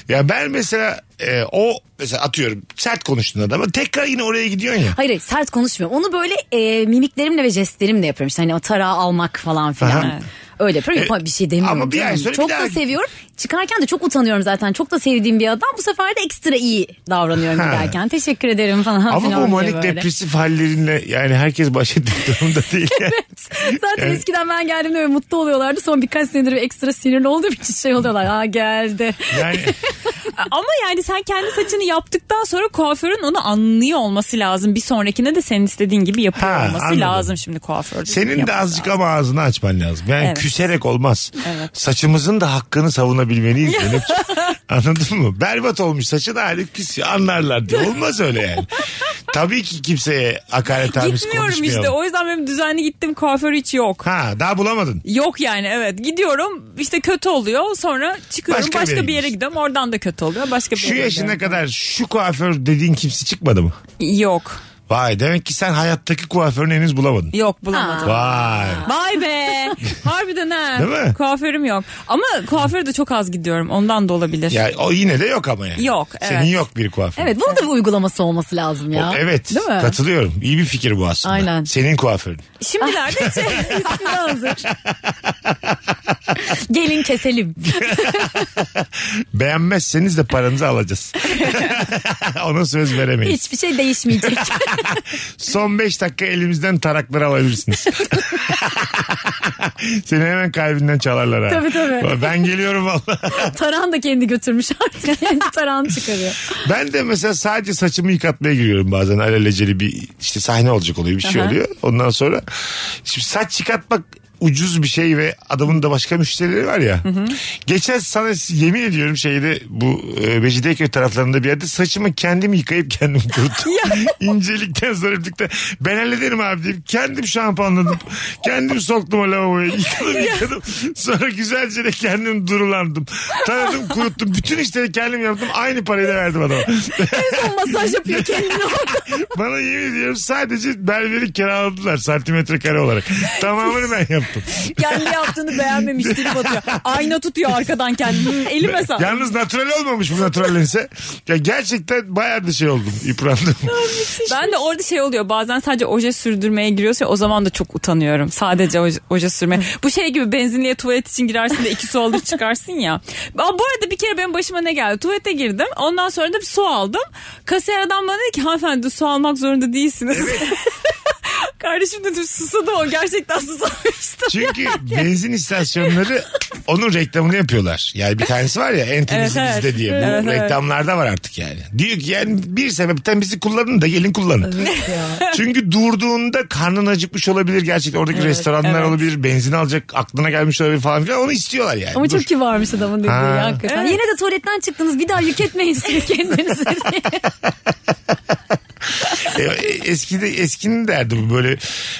ya ben mesela e, o mesela atıyorum sert konuştun adama tekrar yine oraya gidiyorsun ya.
Hayır hayır sert konuşmuyorum. Onu böyle e, mimiklerimle ve jestlerimle yapıyorum. İşte hani o tarağı almak falan filan.
Aha. E,
Öyle yapıyorum Yapma- bir şey demiyorum.
ama bir ay
canım.
sonra bir
çok
daha-
da seviyorum. Çıkarken de çok utanıyorum zaten. Çok da sevdiğim bir adam. Bu sefer de ekstra iyi davranıyorum
Ha.
giderken. Teşekkür ederim falan
Ama
filan
bu
diye
manik
böyle.
depresif hallerinle yani herkes baş ettiği durumda
(laughs)
değil. yani.
(laughs) Zaten eskiden ben geldiğimde böyle mutlu oluyorlardı. Son birkaç senedir bir ekstra sinirli olduğum için şey oluyorlar. Aa geldi. (laughs)
Yani
Ama yani sen kendi saçını yaptıktan sonra kuaförün onu anlıyor olması lazım. Bir sonrakine de senin istediğin gibi yapıyor
Ha,
olması
anladım.
lazım şimdi kuaförde.
senin de azıcık ama ağzını açman lazım. Yani
Evet.
küserek olmaz.
Evet.
Saçımızın da hakkını savunabilmeliyiz.
(laughs)
Zeynepciğim. Anladın mı? Berbat olmuş saçı da halif küs anlarlar diye. Olmaz öyle yani. Tabii ki kimseye hakaret hamis
Gitmiyorum işte
konuşmayalım.
o yüzden benim düzenli gittim kuaför hiç yok.
Ha daha bulamadın.
Yok yani evet gidiyorum işte kötü oluyor sonra çıkıyorum
Başka bir
başka,
yere
bir yere
gidiyorsun.
gidiyorum oradan da kötü oluyor başka bir
Şu
yere
yaşına
gidiyorum.
kadar şu kuaför dediğin kimse çıkmadı mı?
Yok
Vay demek ki sen hayattaki kuaförünü henüz bulamadın.
yok bulamadım.
Vay.
Vay be harbiden ha
Değil mi?
kuaförüm yok ama kuaföre de çok az gidiyorum ondan da olabilir.
Ya o yine de yok ama yani.
Yok,
Senin
evet.
yok bir kuaför.
Evet bunun da bir uygulaması olması lazım ya.
O- evet.
Değil mi?
Katılıyorum. İyi bir fikir bu aslında.
Aynen.
Senin kuaförün.
Şimdilerde
(laughs)
şey,
Aslında hazır. (laughs) Gelin keselim.
Beğenmezseniz de paranızı
(laughs)
alacağız. Ona söz veremeyiz.
Hiçbir şey (laughs) değişmeyecek.
Son 5 dakika elimizden tarakları
(laughs)
alabilirsiniz. Seni hemen kalbinden çalarlar ha.
Tabii, tabii.
Ben geliyorum valla.
Taran da kendi götürmüş artık. Kendi taran çıkarıyor.
Ben de mesela sadece saçımı yıkatmaya giriyorum bazen alelacele bir işte sahne olacak oluyor bir şey oluyor. Ondan sonra şimdi saç yıkatmak ucuz bir şey ve adamın da başka müşterileri var ya. Geçen sana yemin ediyorum şeyde bu e, Becidiyeköy taraflarında bir yerde saçımı kendim yıkayıp kendim kuruttum. (laughs) İncelikten zariflikten. Ben hallederim abi deyip kendim şampuanladım. kendim soktum o lavaboya. Yıkadım yıkadım. Sonra güzelce de kendim durulandım. Taradım kuruttum. Bütün işleri kendim yaptım. Aynı parayı da verdim adama. (laughs)
Son masaj yapıyor (laughs) kendine.
Bana yemin ediyorum sadece berberi kiraladılar santimetre kare olarak. Tamamını ben yaptım.
Kendi yaptığını beğenmemiş trip atıyor. Ayna tutuyor arkadan kendini. Hmm, Elime sağ.
Yalnız natural olmamış bu naturallense. Ya gerçekten bayağı da şey oldum. yıprandım.
Ben de orada şey oluyor bazen sadece oje sürdürmeye giriyorsun ya, o zaman da çok utanıyorum. Sadece oje, oje sürmeye. Bu şey gibi benzinliğe tuvalet için girersin de iki su alır çıkarsın ya. Aa, Bu arada bir kere benim başıma ne geldi? Tuvalete girdim ondan sonra da bir su aldım. Kasiyer adam bana dedi ki hanımefendi su almak zorunda değilsiniz. (laughs) Kardeşim dedim susadı o gerçekten susamıştı.
Çünkü benzin istasyonları onun reklamını yapıyorlar. Yani bir tanesi var ya en temizi
Evet, evet.
bizde diye. Bu
Evet, evet.
reklamlarda var artık yani. Diyor ki yani bir sebepten bizi kullanın da gelin kullanın. Çünkü durduğunda karnın acıkmış olabilir. Gerçekten oradaki restoranlar
evet.
olabilir. Benzin alacak aklına gelmiş olabilir falan filan. Onu istiyorlar yani.
Ama
Dur.
çok kibarmış adamın dediği
Ha.
ya hakikaten.
Evet.
Yine de tuvaletten çıktınız bir daha yük etmeyin siz kendinize diye.
E, Eskide eskinin derdi bu böyle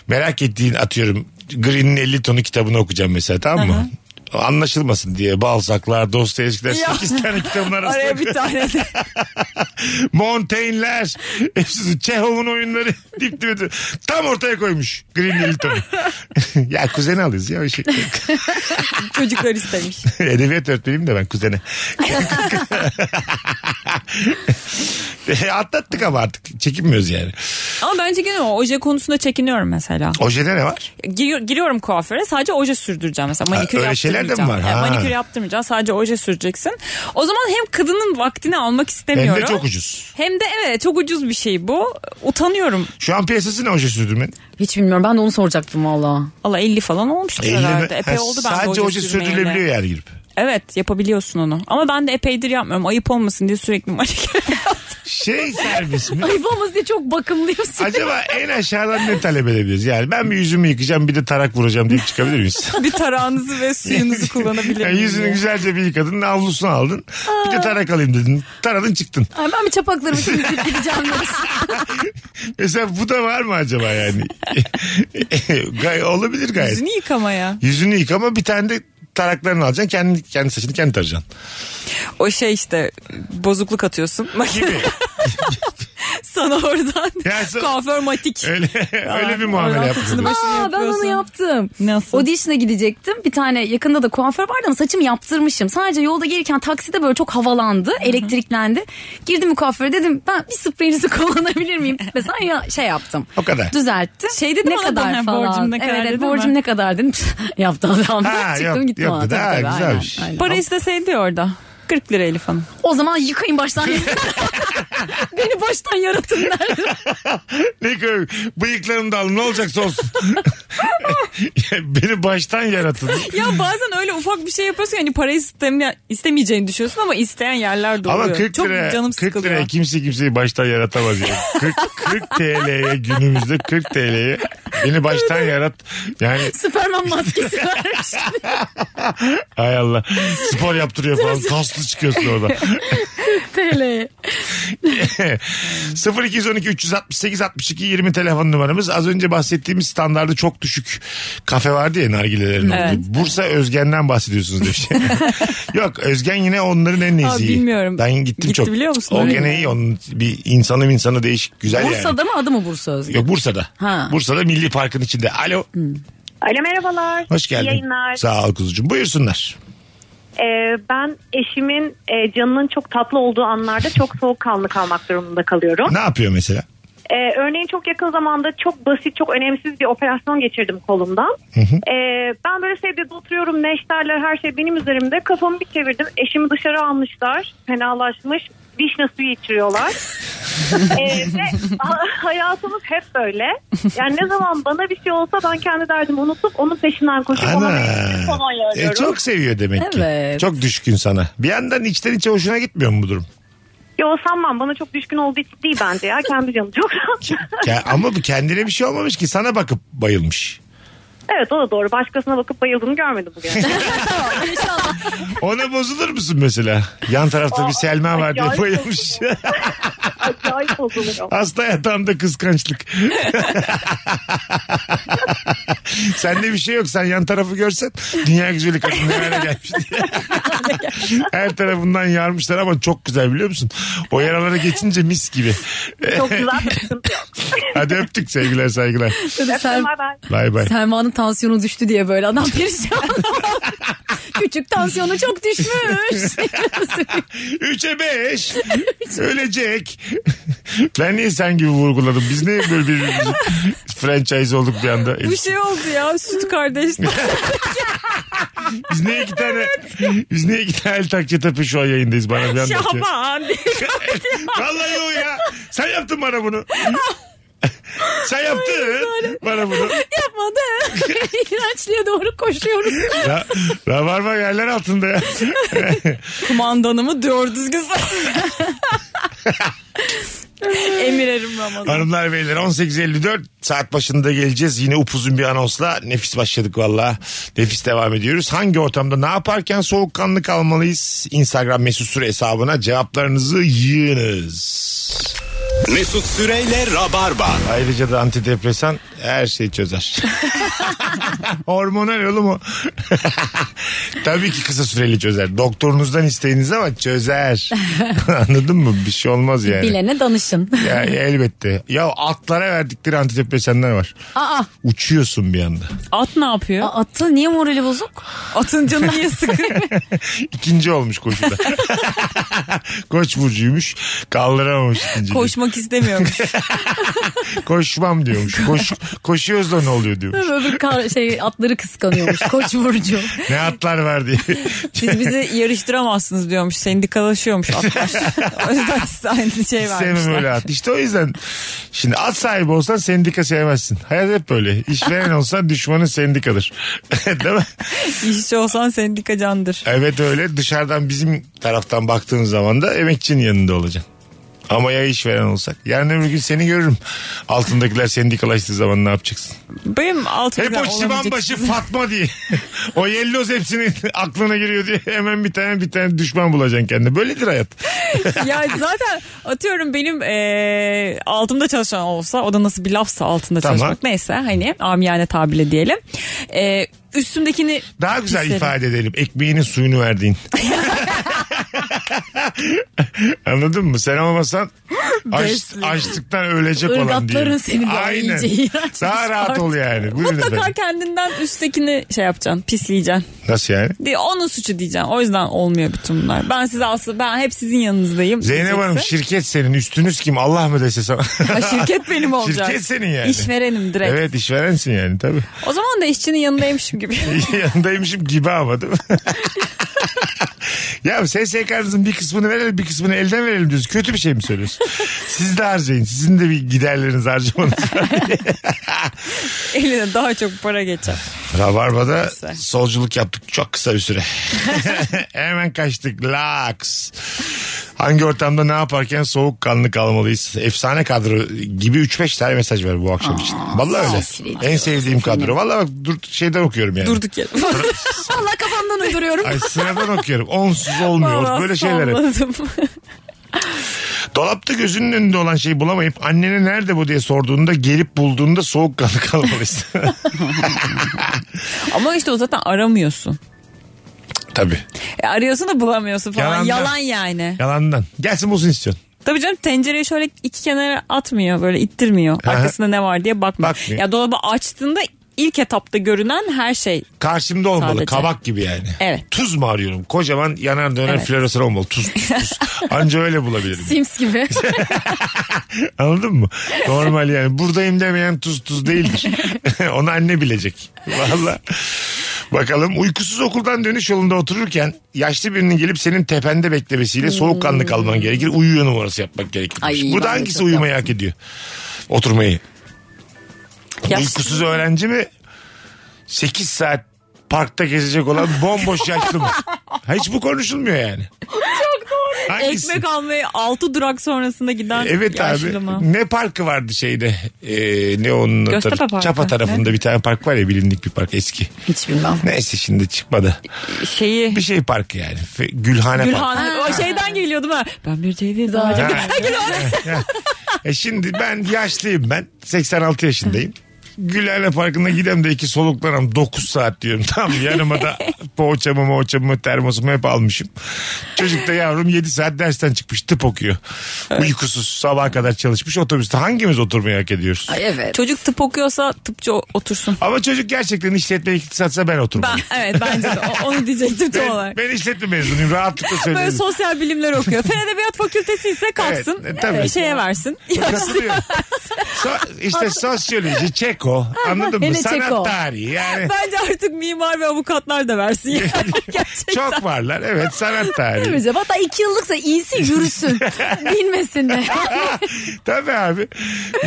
merak ettiğin atıyorum Green'in 50 tonu kitabını okuyacağım mesela tamam mı? Anlaşılmasın diye Balzac'lar, Dostoyevski'ler 8 tane
(laughs)
kitabın arasında.
Araya bir tane
(laughs)
de.
Montaigne'ler. (laughs) Hepsi Çehov'un oyunları (laughs) dip dibe dibe. Tam ortaya koymuş Green Hilton. (laughs) ya kuzeni alırız ya. bir Şey. (laughs)
Çocuklar istemiş.
Edebiyat öğretmeniyim de ben kuzene. (laughs) Atlattık ama artık çekinmiyoruz yani.
Ama ben çekiniyorum. Oje konusunda çekiniyorum mesela.
Ojede ne var?
Giriyor- giriyorum kuaföre sadece oje sürdüreceğim mesela manikür
öyle şeyler de mi
yaptırmayacağım.
var?
Yani
Ha.
manikür yaptırmayacağım sadece oje süreceksin. O zaman hem kadının vaktini almak
Hem
istemiyorum.
de çok ucuz.
Hem de evet çok ucuz bir şey bu. Utanıyorum.
Şu an piyasası ne oje sürdürmenin?
(laughs) Hiç bilmiyorum ben de onu soracaktım valla.
Allah 50 falan olmuştur
Elli mi?
herhalde. Epey
Ha,
oldu ben de
Sadece oje
sürmeyeli.
sürdürülebiliyor yani girip.
Evet yapabiliyorsun onu. Ama ben de epeydir yapmıyorum. Ayıp olmasın diye sürekli manikür
(laughs) Şey servis mi?
Ayıp olmaz diye çok bakımlıyım.
Acaba en aşağıdan ne talep edebiliriz? Yani ben bir yüzümü yıkayacağım bir de tarak vuracağım deyip çıkabilir miyiz?
bir tarağınızı
(laughs)
ve suyunuzu kullanabilir
Yani
miyim
yüzünü
diye.
güzelce bir yıkadın avlusunu aldın. Bir de tarak alayım dedin. Taradın çıktın.
Ay ben bir çapaklarımı temizleyip gideceğim. (laughs) ben.
Mesela E bu da var mı acaba yani?
(laughs)
(laughs) Gay olabilir gayet. Yüzünü...
Yüzünü yıkamaya.
yıkama bir tane de taraklarını alacaksın. Kendi, kendi saçını kendi tarayacaksın.
O şey işte bozukluk atıyorsun. (laughs)
Gibi.
Sana oradan
Ya sen-
kuaför matik.
öyle, öyle bir muamele
Oradan
yapmışsın.
saçını başını
Aa, ben
yapıyorsun.
onu yaptım.
Nasıl?
Audition'a gidecektim. Bir tane yakında da kuaför vardı ama saçımı yaptırmışım. Sadece yolda gelirken takside böyle çok havalandı. Elektriklendi. Girdim bu kuaföre dedim ben bir spreyinizi (laughs) kullanabilir miyim? Mesela ya şey yaptım.
O kadar.
Düzelttim.
Şey dedim
ne
ona
kadar
ben,
falan.
borcum ne kadar
evet, evet,
dedim
borcum
ben.
ne kadar dedim. (laughs) yaptı adam.
Ha,
Çıktım
yap-
gittim. ona.
yaptı.
Tabii,
Ha,
tabii, aynen,
güzelmiş.
aynen.
Para isteseydi orada. 40 lira Elif Hanım.
O zaman
(laughs)
yıkayın baştan. (laughs) Beni baştan yaratın derdim.
Ne köy bıyıklarını da alın ne olacaksa
(laughs)
olsun. (laughs) Beni baştan yaratın.
Ya bazen öyle ufak bir şey yapıyorsun yani parayı isteme- istemeyeceğini düşünüyorsun ama isteyen yerler de oluyor.
Ama 40
Çok
lira,
canım
40
sıkılıyor.
liraya kimse kimseyi baştan yaratamaz yani. (laughs) 40, 40 TL'ye günümüzde 40 TL'ye beni baştan yarat. Yani
Süperman
(laughs)
maskesi vermiş.
hay Allah spor yaptırıyor falan kaslı çıkıyorsun
(laughs)
orada.
TL.
0212 368 62 20 telefon numaramız. Az önce bahsettiğimiz standardı çok düşük kafe vardı ya nargilelerin olduğu.
Evet.
Bursa Özgen'den bahsediyorsunuz
(laughs)
demiş. Yok Özgen yine onların en
Aa,
nezih.
bilmiyorum.
Ben gittim
Gitti
çok.
biliyor musun?
O
Öyle
gene
mi?
iyi onun bir insanı insanı değişik güzel yani.
Bursa'da mı adı mı Bursa Özgür?
Yok Bursa'da.
Ha.
Bursa'da Milli Park'ın içinde. Alo.
Alo merhabalar.
Hoş geldin.
İyi yayınlar.
Sağ ol kuzucuğum. Buyursunlar.
Ee, ben eşimin e, canının çok tatlı olduğu anlarda çok soğukkanlı kalmak durumunda kalıyorum.
Ne yapıyor mesela?
Ee, örneğin çok yakın zamanda çok basit çok önemsiz bir operasyon geçirdim kolumdan. Ee, ben böyle sevdiğimde oturuyorum neşterler her şey benim üzerimde. Kafamı bir çevirdim eşimi dışarı almışlar fenalaşmış vişne
(laughs)
suyu içiriyorlar. Ee, ve ha- hayatımız hep böyle. Yani ne zaman bana bir şey olsa ben kendi derdimi unutup onun peşinden koşup ona
Ana.
meyve kolonya
E,
arıyorum.
çok seviyor demek ki.
Evet.
Çok düşkün sana. Bir yandan içten içe hoşuna gitmiyor mu bu durum?
Yo sanmam bana çok düşkün olduğu için değil bence ya kendi canım çok (laughs) rahat.
Ke- Ama bu kendine bir şey olmamış ki sana bakıp bayılmış.
Evet o da doğru. Başkasına bakıp bayıldığını görmedim bugün.
Tamam inşallah.
Ona bozulur musun mesela? Yan tarafta bir Selma var diye
acayip
bayılmış.
Acayip bozuluyorum.
Hasta yatağımda kıskançlık. Sende bir şey yok. Sen yan tarafı görsen dünya güzeli kadın nereye gelmiş diye. Her tarafından yarmışlar ama çok güzel biliyor musun? O yaralara geçince mis gibi.
Çok güzel bir sıkıntı yok.
(laughs) Hadi öptük sevgiler saygılar.
Sel-
Bye bye.
Bay bay.
Selma'nın tansiyonu düştü diye
(laughs)
böyle adam perişan. Küçük tansiyonu çok düşmüş.
Üçe beş. Ölecek. (laughs) Ben niye sen gibi vurguladım? Biz niye böyle bir (laughs) franchise olduk bir anda?
Bir şey oldu ya süt kardeşler.
Biz niye iki tane biz niye iki tane el takçe tepe şu an yayındayız bana bir anda. atıyor.
Şaban.
Vallahi o ya. Sen yaptın bana bunu. Sen yaptın bana bunu.
Yapmadı. İğrençliğe doğru koşuyoruz.
Ya, rabarba yerler altında ya.
Kumandanımı dört düzgün Emirerim Ramazan.
Hanımlar beyler 18.54 saat başında geleceğiz. Yine upuzun bir anonsla nefis başladık valla. Nefis devam ediyoruz. Hangi ortamda ne yaparken soğukkanlı kalmalıyız? Instagram mesut süre hesabına cevaplarınızı yığınız.
Mesut Süreyle Rabarba.
Ayrıca da antidepresan her şeyi çözer. Hormonal oğlum o. (laughs) Tabii ki kısa süreli çözer. Doktorunuzdan isteyiniz ama çözer. Anladın mı? Bir şey olmaz yani.
Bilene danışın.
Ya, elbette. Ya atlara verdikleri antidepresanlar var.
Aa,
Uçuyorsun bir anda.
At ne yapıyor?
a- atı niye morali bozuk?
Atın canı niye sıkı?
(laughs) İkinci olmuş koşuda. Koç burcuymuş. Kaldıramamış ikinci. (laughs)
Koşmak istemiyormuş.
Koşmam diyormuş. Koş, koşuyoruz da ne oluyor diyormuş.
Öbür kar- şey atları kıskanıyormuş. Koç burcu.
Ne atlar var diye.
Siz bizi yarıştıramazsınız diyormuş.
(laughs)
Sendikalaşıyormuş atlar. o yüzden size aynı şey
Sevmem
vermişler.
öyle at. İşte o yüzden şimdi at sahibi olsan sendika sevmezsin. Hayat hep böyle. İşveren olsan düşmanın sendikadır. (laughs) Değil mi?
İşçi olsan sendika candır.
Evet öyle. Dışarıdan bizim taraftan baktığın zaman da emekçinin yanında olacaksın. Ama ya işveren olsak? Yarın öbür gün seni görürüm. Altındakiler sendikalaştığı zaman ne yapacaksın?
Benim altımda
Hep o çıban başı Fatma diye. (laughs) o yelloz hepsinin (laughs) aklına giriyor diye hemen bir tane bir tane düşman bulacaksın kendine. Böyledir hayat.
(laughs) ya zaten atıyorum benim e, altımda çalışan olsa o da nasıl bir lafsa altında
Tamam.
çalışmak neyse hani amiyane tabirle diyelim. E, üstümdekini
Daha güzel
Pislerim.
ifade edelim. Ekmeğinin suyunu
(laughs)
verdiğin. Anladın mı? Sen olmasan aç,
Beslerim.
açlıktan ölecek olan diye.
Irgatların seni böyle
Aynen.
iyice iğrenç
Daha rahat ol yani. Buyurun
mutlaka
efendim.
kendinden üsttekini şey yapacaksın pisleyeceksin.
Nasıl yani?
Diye onun suçu diyeceksin. O yüzden olmuyor bütün bunlar. Ben size aslında ben hep sizin yanınızdayım.
Zeynep Hanım
diyeceksin.
şirket senin üstünüz kim Allah mı dese sana.
Ha, şirket benim
(laughs)
olacak.
şirket senin yani.
İşverenim direkt.
Evet işverensin yani tabii.
O zaman da işçinin
(laughs)
yanındaymışım gibi.
Yanındaymışım gibi ama değil mi? (laughs) ya SSK'nızın bir kısmını verelim bir kısmını elden verelim diyoruz. Kötü bir şey mi söylüyorsun? Siz de harcayın. Sizin de bir giderleriniz harcamanız var.
Eline daha çok para geçer.
Rabarba'da
Neyse.
solculuk yaptık çok kısa bir süre. Hemen kaçtık. Laks. Hangi ortamda ne yaparken soğukkanlı kalmalıyız? Efsane kadro gibi 3-5 tane mesaj var bu akşam için. Vallahi öyle.
safiriyim.
En sevdiğim kadro. Vallahi bak dur, şeyden okuyorum yani.
Durduk (laughs) yere.
Allah kafamdan uyduruyorum.
Ay sıradan okuyorum. Onsuz olmuyor.
Vallahi
Böyle şeyler. hep.
salladım.
Dolapta gözünün önünde olan şeyi bulamayıp annene nerede bu diye sorduğunda gelip bulduğunda (laughs) soğukkanlı kalmalıyız.
(laughs) Ama işte o zaten aramıyorsun.
Tabii.
E, arıyorsun da bulamıyorsun falan.
Yalandan.
Yalan yani.
Yalandan. Gelsin bulsun istiyorsun.
Tabii canım tencereyi şöyle iki kenara atmıyor böyle ittirmiyor.
Aha.
Arkasında ne var diye bakmıyor.
Bakmıyor.
Ya dolabı açtığında ilk etapta görünen her şey.
Karşımda olmalı.
Sadece.
Kabak gibi yani.
Evet.
Tuz mu arıyorum? Kocaman yanar döner
Evet.
floresan olmalı. Tuz tuz
(laughs)
tuz. Anca öyle bulabilirim.
Sims gibi.
(laughs) Anladın mı? Normal yani. Buradayım demeyen tuz tuz değildir. (laughs) Onu anne bilecek. Valla. Bakalım uykusuz okuldan dönüş yolunda otururken yaşlı birinin gelip senin tepende beklemesiyle soğukkanlı kalman gerekir. Uyuyor numarası yapmak gerekir.
Hmm. Ay,
Burada
ben de
hangisi
çok
uyumayı hak ediyor? Oturmayı. Uykusuz öğrenci mi? 8 saat
(laughs)
parkta gezecek olan bomboş yaşlı mı? Ha, Hiç bu konuşulmuyor yani. Çok doğru. hangisi?
Ekmek almaya 6 durak sonrasında giden
Evet (laughs)
yaşlıma.
abi. Ne parkı vardı şeyde? Ee, ne onun adı?
Göztepe Parkı.
Çapa tarafında bir tane park var ya bilindik bir park eski.
Hiç bilmem.
Neyse şimdi çıkmadı.
Şeyi
Bir şey parkı yani. Fe- Gülhane, Parkı.
Gülhane o şeyden geliyordum ha. Ben bir TV
Zaten.
izleyeceğim. (laughs)
Ha. E şimdi ben yaşlıyım ben. 86 yaşındayım. Gülhane Parkı'na gidem de iki soluklanam 9 saat diyorum. (laughs) Tamam mı? yanıma da poğaçamı moğaçamı termosumu hep almışım. Çocuk da yavrum 7 saat dersten çıkmış tıp okuyor. Uykusuz sabaha kadar çalışmış otobüste hangimiz oturmayı hak ediyoruz?
Ay evet.
Çocuk tıp okuyorsa tıpçı o- otursun.
Ama çocuk gerçekten işletme iktisatsa ben oturmam.
Ben evet bence de O- onu diyecektim tam
Ben,
olarak.
ben işletme mezunuyum rahatlıkla
Böyle
söylerim.
sosyal bilimler okuyor. Fen Edebiyat Fakültesi ise kalksın.
Evet, e, tabii.
Şeye versin.
Katılıyorum. So- işte sosyoloji, çeko anladın mı?
Hele
Sanat
çeko.
tarihi yani.
Bence artık mimar ve avukatlar
(laughs)
da versin. Yani. Gerçekten.
Çok varlar evet sanat tarihi.
Demeyeceğim. Hatta iki yıllıksa iyisi
(laughs)
yürüsün. Bilmesin de.
Tabii abi.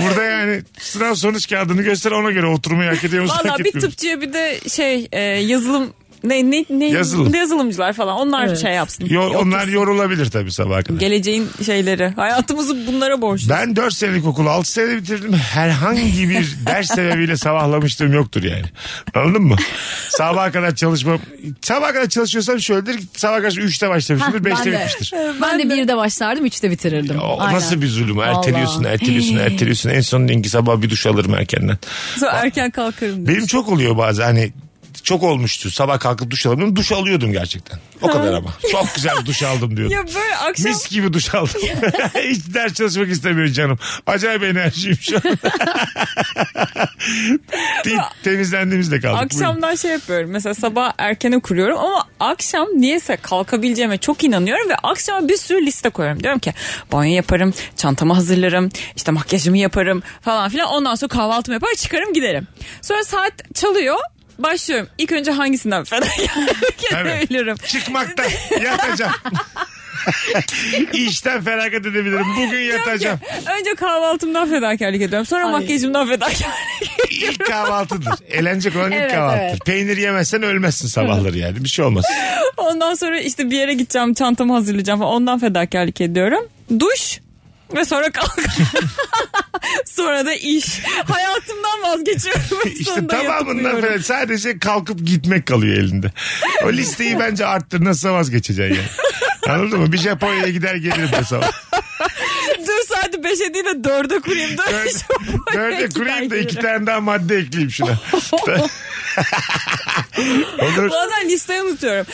Burada yani sınav sonuç kağıdını göster ona göre oturmayı hak ediyor musun? hak
Valla bir
etmiyor musun?
tıpçıya bir de şey e, yazılım ne ne ne
Yazılım.
yazılımcılar falan onlar
Evet.
şey yapsın.
Yo- onlar
Otursun.
yorulabilir tabii sabaha kadar.
geleceğin şeyleri. Hayatımızı bunlara borçlu.
Ben 4 senelik okulu 6 senede bitirdim. Herhangi bir
(laughs)
ders sebebiyle sabahlamışlığım yoktur yani. Anladın mı? Sabaha kadar çalışmam. Sabaha kadar çalışıyorsam şöyledir. Sabaha kadar 3'te başlamışımdır,
Hah,
5'te
ben de.
bitmiştir.
Ben de birde başlardım, üçte bitirirdim.
O
Aynen.
nasıl bir zulüm?
Vallahi.
Erteliyorsun, erteliyorsun, erteliyorsun. En son diyorsun ki sabah bir duş alırım erkenden.
Sonra erken kalkarım. diye.
Benim çok oluyor bazen hani çok olmuştu. Sabah kalkıp duş alamıyorum. Duş alıyordum gerçekten. O kadar ama. Çok güzel duş
(laughs)
aldım diyordum.
Ya böyle akşam
Mis gibi duş aldım. (laughs) Hiç ders çalışmak istemiyorum canım. Acayip enerjiyim şu an. Deyip temizlendiğimiz de kaldık. Buyurun.
akşamdan şey yapıyorum. Mesela sabah erkene kuruyorum ama akşam niyeyse kalkabileceğime çok inanıyorum ve akşama bir sürü liste koyuyorum. Diyorum ki banyo yaparım, çantamı hazırlarım, işte makyajımı yaparım falan filan. Ondan sonra kahvaltımı yapar çıkarım giderim. Sonra saat çalıyor. Başlıyorum. İlk önce hangisinden fedakarlık
Evet.
edebilirim?
Çıkmakta yatacağım. (laughs) İşten feragat edebilirim. Bugün yatacağım.
Önce kahvaltımdan fedakarlık ediyorum. Sonra
Ay.
makyajımdan fedakarlık
İlk kahvaltıdır. Eğlenecek olan ilk
Evet,
kahvaltıdır.
evet.
Peynir yemezsen ölmezsin sabahları yani. Bir şey olmaz.
Ondan sonra işte bir yere gideceğim çantamı hazırlayacağım falan ondan fedakarlık ediyorum. Duş ve sonra kalk. (laughs) sonra da iş. Hayatımdan vazgeçiyorum.
(laughs)
ve
İşte
sonunda yatıp
tamamından
uyuyorum.
falan sadece kalkıp gitmek kalıyor elinde. O listeyi bence arttır nasıl vazgeçeceksin yani. Anladın mı? Bir Japonya'ya gider gelirim bu sabah.
Dur saati 5'e değil de 4'e kurayım. Dört
Dörde-
iş yapayım.
Dörde
Gider
kurayım da iki
gelirim.
tane daha madde ekleyeyim şuna. Olur.
Bazen listeyi unutuyorum.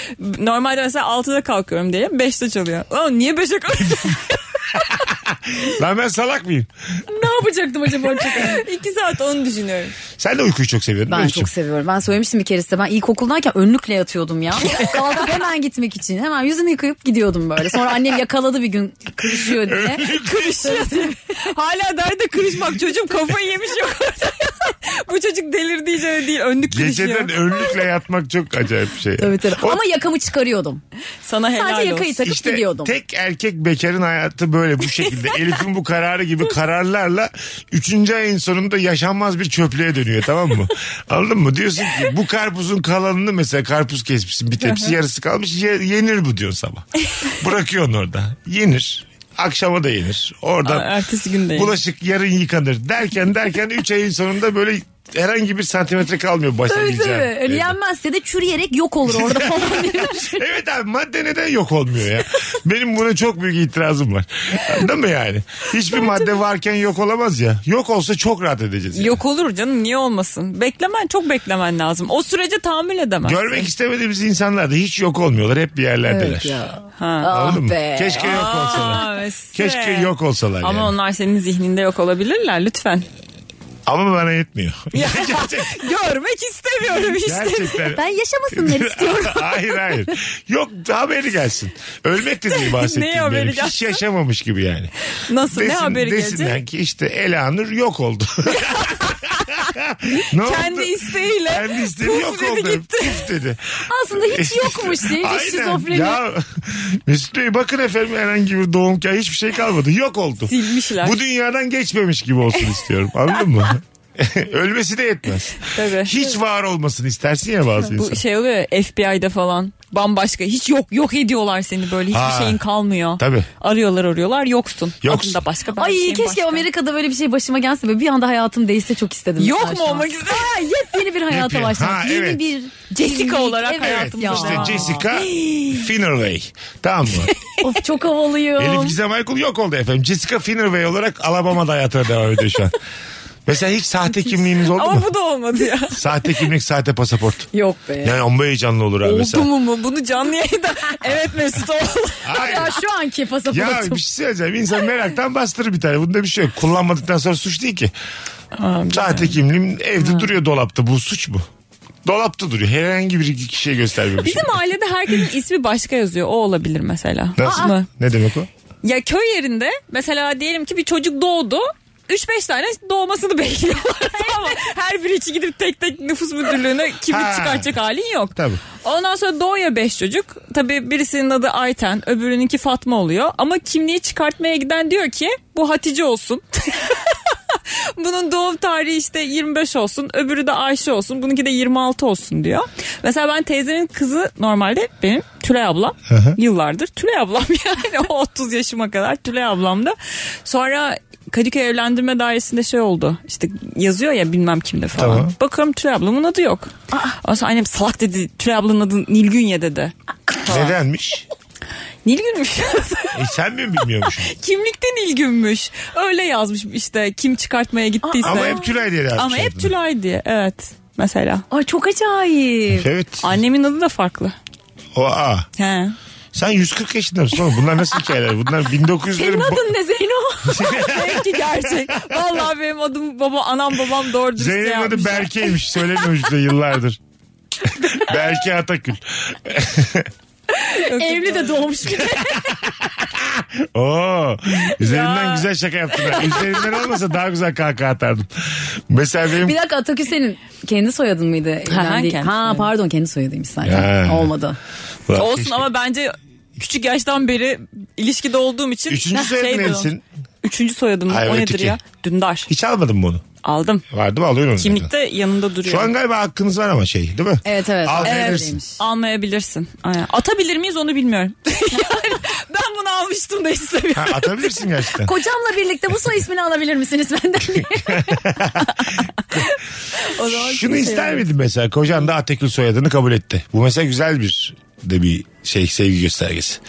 Normalde mesela 6'da kalkıyorum diye 5'te çalıyor. Lan niye 5'e kalkıyorum? (laughs)
Lan ben salak mıyım?
ne yapacaktım acaba? 2 saat onu düşünüyorum.
Sen de uykuyu çok seviyordun.
Ben
Mesut'cum.
çok seviyorum. Ben söylemiştim bir kereste. Ben ilkokuldayken önlükle yatıyordum ya. Kalkıp hemen gitmek için. Hemen yüzümü yıkayıp gidiyordum böyle. Sonra annem yakaladı bir gün kırışıyor diye.
Kırışıyor. Hala derde kırışmak çocuğum kafayı yemiş yok. (laughs) Bu çocuk delirdi iyice değil önlük kırışıyor.
Geceden önlükle yatmak çok acayip bir şey.
Tabii tabii.
O-
Ama yakamı çıkarıyordum.
Sana helal
Sadece
olsun.
yakayı takıp gidiyordum.
tek erkek bekarın hayatı böyle bu
(laughs)
şekilde. Elif'in bu kararı gibi kararlarla 3. ayın sonunda yaşanmaz bir çöplüğe dönüyor tamam
(laughs)
mı? Anladın mı? Diyorsun ki bu karpuzun kalanını mesela karpuz kesmişsin bir tepsi yarısı kalmış ye- yenir bu diyorsun
(laughs)
sabah. Bırakıyorsun orada. Yenir. Akşama da yenir. Oradan
Aa, ertesi gün de yenir.
bulaşık yarın yıkanır. Derken derken 3 ayın sonunda böyle herhangi bir santimetre kalmıyor başa
Tabii tabii.
diyeceğim.
Öyle yenmezse de çürüyerek yok olur orada falan diye.
Evet abi madde neden yok olmuyor ya? Benim buna çok büyük itirazım var. Anladın mı yani? Hiçbir madde varken yok olamaz ya. Yok olsa çok rahat edeceğiz. yani.
Yok olur canım niye olmasın. Beklemen çok beklemen lazım. O sürece tahammül edemez.
Görmek istemediğimiz insanlar da hiç yok olmuyorlar. Hep bir yerlerdeler.
Evet ya.
Anladın
Ah
mı?
be.
Keşke yok olsalar. Keşke yok olsalar
Ama
yani.
onlar senin zihninde yok olabilirler lütfen.
Ama bana
(laughs)
yetmiyor. (laughs) Gerçek-
Görmek istemiyorum işte.
Gerçekten.
Ben
(laughs)
yaşamasınlar istiyorum.
hayır hayır. Yok haberi gelsin. Ölmek de
(laughs)
değil
Ne
bahsettiğim
haberi
benim. Hiç
gelsin?
yaşamamış gibi yani.
Nasıl ne haberi
desinler
gelecek?
ki işte Elanur yok
(laughs)
oldu. ne
Kendi
oldu?
isteğiyle.
Kendi istedi
puf
yok
dedi
oldu.
gitti.
Puf dedi.
Aslında hiç yokmuş diye bir
Aynen.
şizofreni.
Ya, Mesut Bey bakın efendim herhangi bir doğum kayı hiçbir şey kalmadı. Yok oldu.
Silmişler. (laughs)
Bu dünyadan geçmemiş gibi olsun istiyorum. Anladın mı? Ölmesi de yetmez.
Tabii.
Hiç var olmasını istersin ya bazı
Bu
insan.
şey oluyor ya, FBI'de falan bambaşka hiç yok yok ediyorlar seni böyle hiçbir
Ha.
şeyin kalmıyor.
Tabii.
Arıyorlar arıyorlar yoksun.
Yoksun.
Adın da başka. ben
Ay
şeyim
keşke
başka.
Amerika'da böyle bir şey başıma gelse böyle bir anda hayatım değişse çok istedim.
Yok
mesela
mu
şu an.
olmak istedim?
Ha, yepyeni bir hayata
Yepyeni.
başlamak.
Ha,
Yeni
evet.
bir
Jessica olarak
Evet
hayatımızda.
işte
Ya. (gasps)
Jessica Finnerway. Tamam mı?
Of çok havalıyım.
Elif Gizem Aykul yok oldu efendim. Jessica Finnerway olarak Alabama'da hayatına devam ediyor şu an. Mesela hiç sahte kimliğiniz oldu
Ama
mu?
bu da olmadı ya.
Sahte kimlik, sahte pasaport.
Yok be.
Yani amma heyecanlı olur abi
Oldu
mesela.
mu mu? Bunu canlı yayında (laughs) evet Mesut oldu.
Hayır.
Ya şu anki pasaportum.
Ya bir şey söyleyeceğim. İnsan meraktan bastırır bir tane. Bunda bir şey yok. Kullanmadıktan sonra suç değil ki. Sahte kimliğim evde duruyor dolapta. Bu suç mu? Dolapta duruyor. Herhangi bir kişiye göstermemiş.
Bizim ailede herkesin ismi başka yazıyor. O olabilir mesela.
Nasıl?
Mı?
Ne demek o?
Ya köy yerinde mesela diyelim ki bir çocuk doğdu. 3-5 tane doğmasını (laughs) bekliyorlar. tamam. mı? Her biri için gidip tek tek nüfus müdürlüğüne
Ha.
kimlik çıkartacak halin yok.
Tabii.
Ondan sonra doğuya 5 çocuk. Tabii birisinin adı Ayten, öbürününki Fatma oluyor. Ama kimliği çıkartmaya giden diyor ki bu Hatice olsun. (laughs) Bunun doğum tarihi işte 25 olsun. Öbürü de Ayşe olsun. Bununki de 26 olsun diyor. Mesela ben teyzemin kızı normalde benim Tülay ablam. Yıllardır Tülay ablam (laughs) yani o 30 yaşıma kadar Tülay ablamda. Sonra Kadıköy evlendirme dairesinde şey oldu. İşte yazıyor ya bilmem kimde falan.
Tamam.
Bakıyorum Tülay ablamın adı yok. Ondan sonra annem salak dedi. Tülay ablanın adı Nilgünye dedi.
Nedenmiş?
Nilgünmüş. (laughs)
E sen mi bilmiyormuşsun?
Kimlikte Nilgünmüş. Öyle yazmış işte kim çıkartmaya gittiyse.
Ama hep Şey Tülay diye yazmış.
Ama hep
adını.
Tülay diye evet mesela.
Ay çok acayip.
Evet.
Annemin adı da farklı.
O A. (laughs)
He.
Sen 140 yaşında mısın oğlum? Bunlar nasıl hikayeler? Bunlar 1900'lerin...
Senin adın ne Zeyno?
Belki gerçek. Vallahi benim adım baba anam babam doğru dürüst
Zeynep'in adı
yapmış.
Berke'ymiş. Söylemiyormuş da
(laughs)
yıllardır. Berke Atakül.
(laughs) Evli de doğmuş gibi.
Oo, üzerinden
Ya.
güzel şaka yaptın. ha. Üzerinden olmasa daha güzel kahkaha atardım. Mesela benim
bir dakika Atakül senin kendi soyadın mıydı? Evlendiği-
kendi
ha
soyadım.
pardon kendi soyadıymış zaten.
Ya.
Olmadı.
Ulan
Olsun
keşke.
ama bence küçük yaştan beri ilişkide olduğum için.
Üçüncü
(laughs) şey
Heh, şey
soyadın
diyorum.
neysin?
Üçüncü soyadım mı?
Hayır,
o nedir
öteki.
ya? Dündar.
Hiç almadın mı onu?
Aldım.
Vardı mı alıyorum. onu zaten.
Kimlikte yanında duruyor.
Şu an galiba hakkınız var ama şey değil mi?
Evet evet.
Al
Evet.
verirsin.
Almayabilirsin. Aynen. Atabilir miyiz onu bilmiyorum. (laughs) Yani ben bunu almıştım da
Ha,
istemiyorum.
(laughs)
atabilirsin gerçekten.
Kocamla birlikte bu soy ismini alabilir misiniz
(laughs)
benden? diye.
O zaman
Şunu
Şey
kimse
ister
yok.
miydin mesela? Kocan da Atakül soyadını kabul etti. Bu mesela güzel bir de bir şey sevgi göstergesi.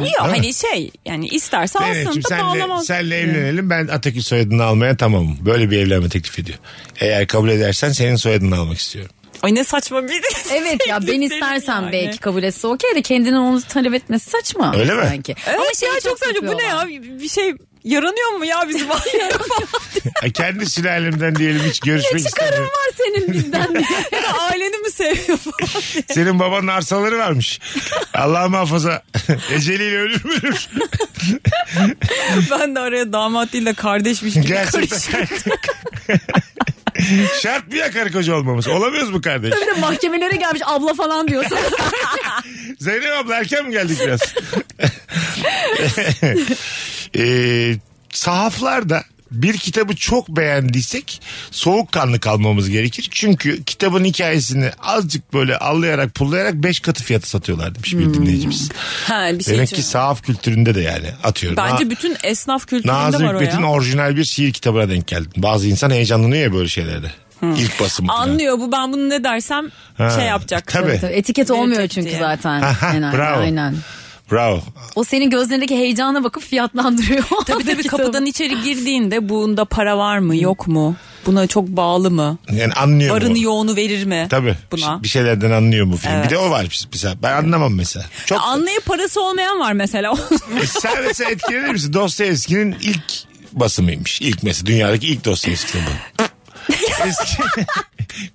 Yok hani şey yani isterse alsın
Deneyimciğim,
da
senle,
bağlamaz.
senle evlenelim ben Atakül soyadını almaya tamamım. Böyle bir evlenme teklif ediyor. Eğer kabul edersen senin soyadını almak istiyorum.
Ay ne saçma bir
(laughs)
evet ya ben
teklif
istersem
yani.
belki kabul etse okey de kendinin onu talep etmesi saçma.
Öyle mi?
Sanki.
Evet
Ama şey
ya çok saçma bu ne
yapıyorlar.
ya bir şey yaranıyor mu ya (laughs) bizim aileye falan
E, Kendi sülalemden diyelim hiç
(laughs)
görüşmek
Karın
istemiyorum.
var senin bizden diye.
Ya da aileni mi seviyor falan.
Senin babanın arsaları varmış. Allah
(laughs)
muhafaza. Eceliyle ölür mü ölür?
(laughs) Ben de araya damat değil de kardeşmiş gibi karışık.
Gerçekten. (laughs) Şart mı ya karı koca olmamız? Olamıyoruz mu kardeş?
Bir de mahkemelere gelmiş abla falan diyorsun.
Zeynep abla erken mi geldik biraz? (laughs) ee, sahaflarda bir kitabı çok beğendiysek soğukkanlı kalmamız gerekir. Çünkü kitabın hikayesini azıcık böyle allayarak pullayarak 5 katı fiyatı satıyorlar demiş bir dinleyicimiz.
Ha Hmm. bir şey
Demek
için.
ki sahaf kültüründe de yani atıyorum.
Bence
Na-
bütün esnaf kültüründe
Nazım
var o
Hikmet'in
ya.
orijinal bir şiir kitabına denk geldim. Bazı insan heyecanlanıyor ya böyle şeylerde. İlk basım. falan.
Hmm. Anlıyor bu ben bunu ne dersem
Ha,
şey yapacak.
Tabii.
Tabii, Etiket olmuyor çünkü
diye.
zaten.
Aha,
Genelde,
bravo.
Aynen.
Bravo.
O senin gözlerindeki heyecana bakıp fiyatlandırıyor.
Tabii tabii kapıdan içeri girdiğinde bunda para var mı yok mu? Buna çok bağlı mı?
Yani anlıyor
Varını
mu?
yoğunu verir mi?
Tabii.
Buna.
Bir şey şeylerden anlıyor mu film.
Evet.
Bir de o var mesela. Ben anlamam mesela. Çok
Anlayıp parası olmayan var mesela. (laughs)
E, Sen mesela etkilenir misin? Dostoyevski'nin ilk basımıymış. İlk mesela dünyadaki ilk Dostoyevski bu.
(laughs)
Eski. (laughs)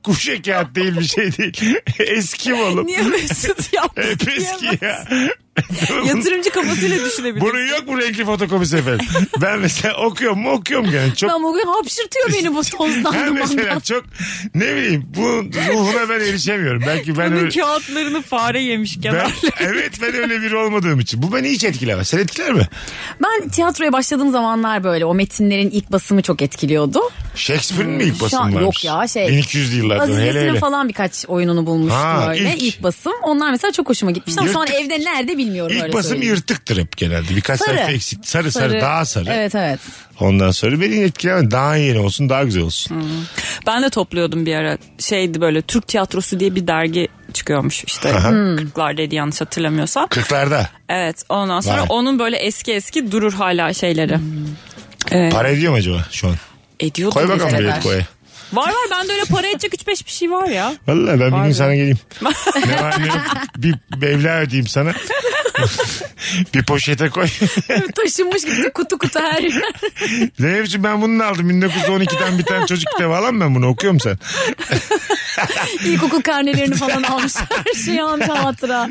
Kuşa kağıt değil bir şey değil. (laughs) Eski mi oğlum? (laughs)
Niye Mesut
E,
yaptı?
Hep eski ya. (laughs)
Yatırımcı kafasıyla düşünebilir.
Bunun yok mu renkli fotokopisi efendim? Ben mesela okuyorum mu okuyorum yani. Çok
Ben bugün hapşırtıyor (laughs) beni bu
ben
tozdan
mesela
dumandan.
çok ne bileyim bu ruhuna ben erişemiyorum. Belki ben
Bunun
öyle,
kağıtlarını fare yemiş
ben,
kenarda.
(laughs) evet ben öyle biri olmadığım için. Bu beni hiç etkilemez. Sen etkiler mi?
Ben tiyatroya başladığım zamanlar böyle o metinlerin ilk basımı çok etkiliyordu.
Shakespeare'in mi ilk
Şu an-
basımı varmış?
yok ya, şey-
1200'lü yıllardan
Aziz
hele
Nesin'in
hele.
falan birkaç oyununu bulmuştu
Ha,
öyle
ilk.
ilk. basım. Onlar mesela çok hoşuma gitmişti ama şu an
Yırtık-
evde nerede bilmiyorum
İlk
öyle
basım
söyleyeyim.
yırtıktır hep genelde. Birkaç sayfa eksik. Sarı, sarı daha sarı.
Evet evet.
Ondan sonra beni etkilemedi. Daha yeni olsun daha güzel olsun.
Ben de topluyordum bir ara. Şeydi böyle Türk tiyatrosu diye bir dergi çıkıyormuş işte. 40'lardaydı yanlış hatırlamıyorsam.
Kırklarda.
Evet ondan sonra
Vay.
onun böyle eski eski durur hala şeyleri.
Para ediyor mu acaba şu an?
Ediyordum.
Koy bakalım
bize
bir
kadar.
koy.
Var var bende öyle para edecek 3-5 bir şey var ya.
Valla ben bir gün
Var
sana
(laughs)
geleyim. ne var ne yok. Bir mevla ödeyeyim sana. (laughs) bir poşete koy.
(laughs)
(laughs)
Taşınmış gibi kutu kutu her yer.
Zeynep'ciğim ben bunu da aldım. 1912'den bir tane çocuk kitabı alan ben bunu okuyorum sen.
İlkokul karnelerini falan almış (laughs) her şeyi almış hatıra.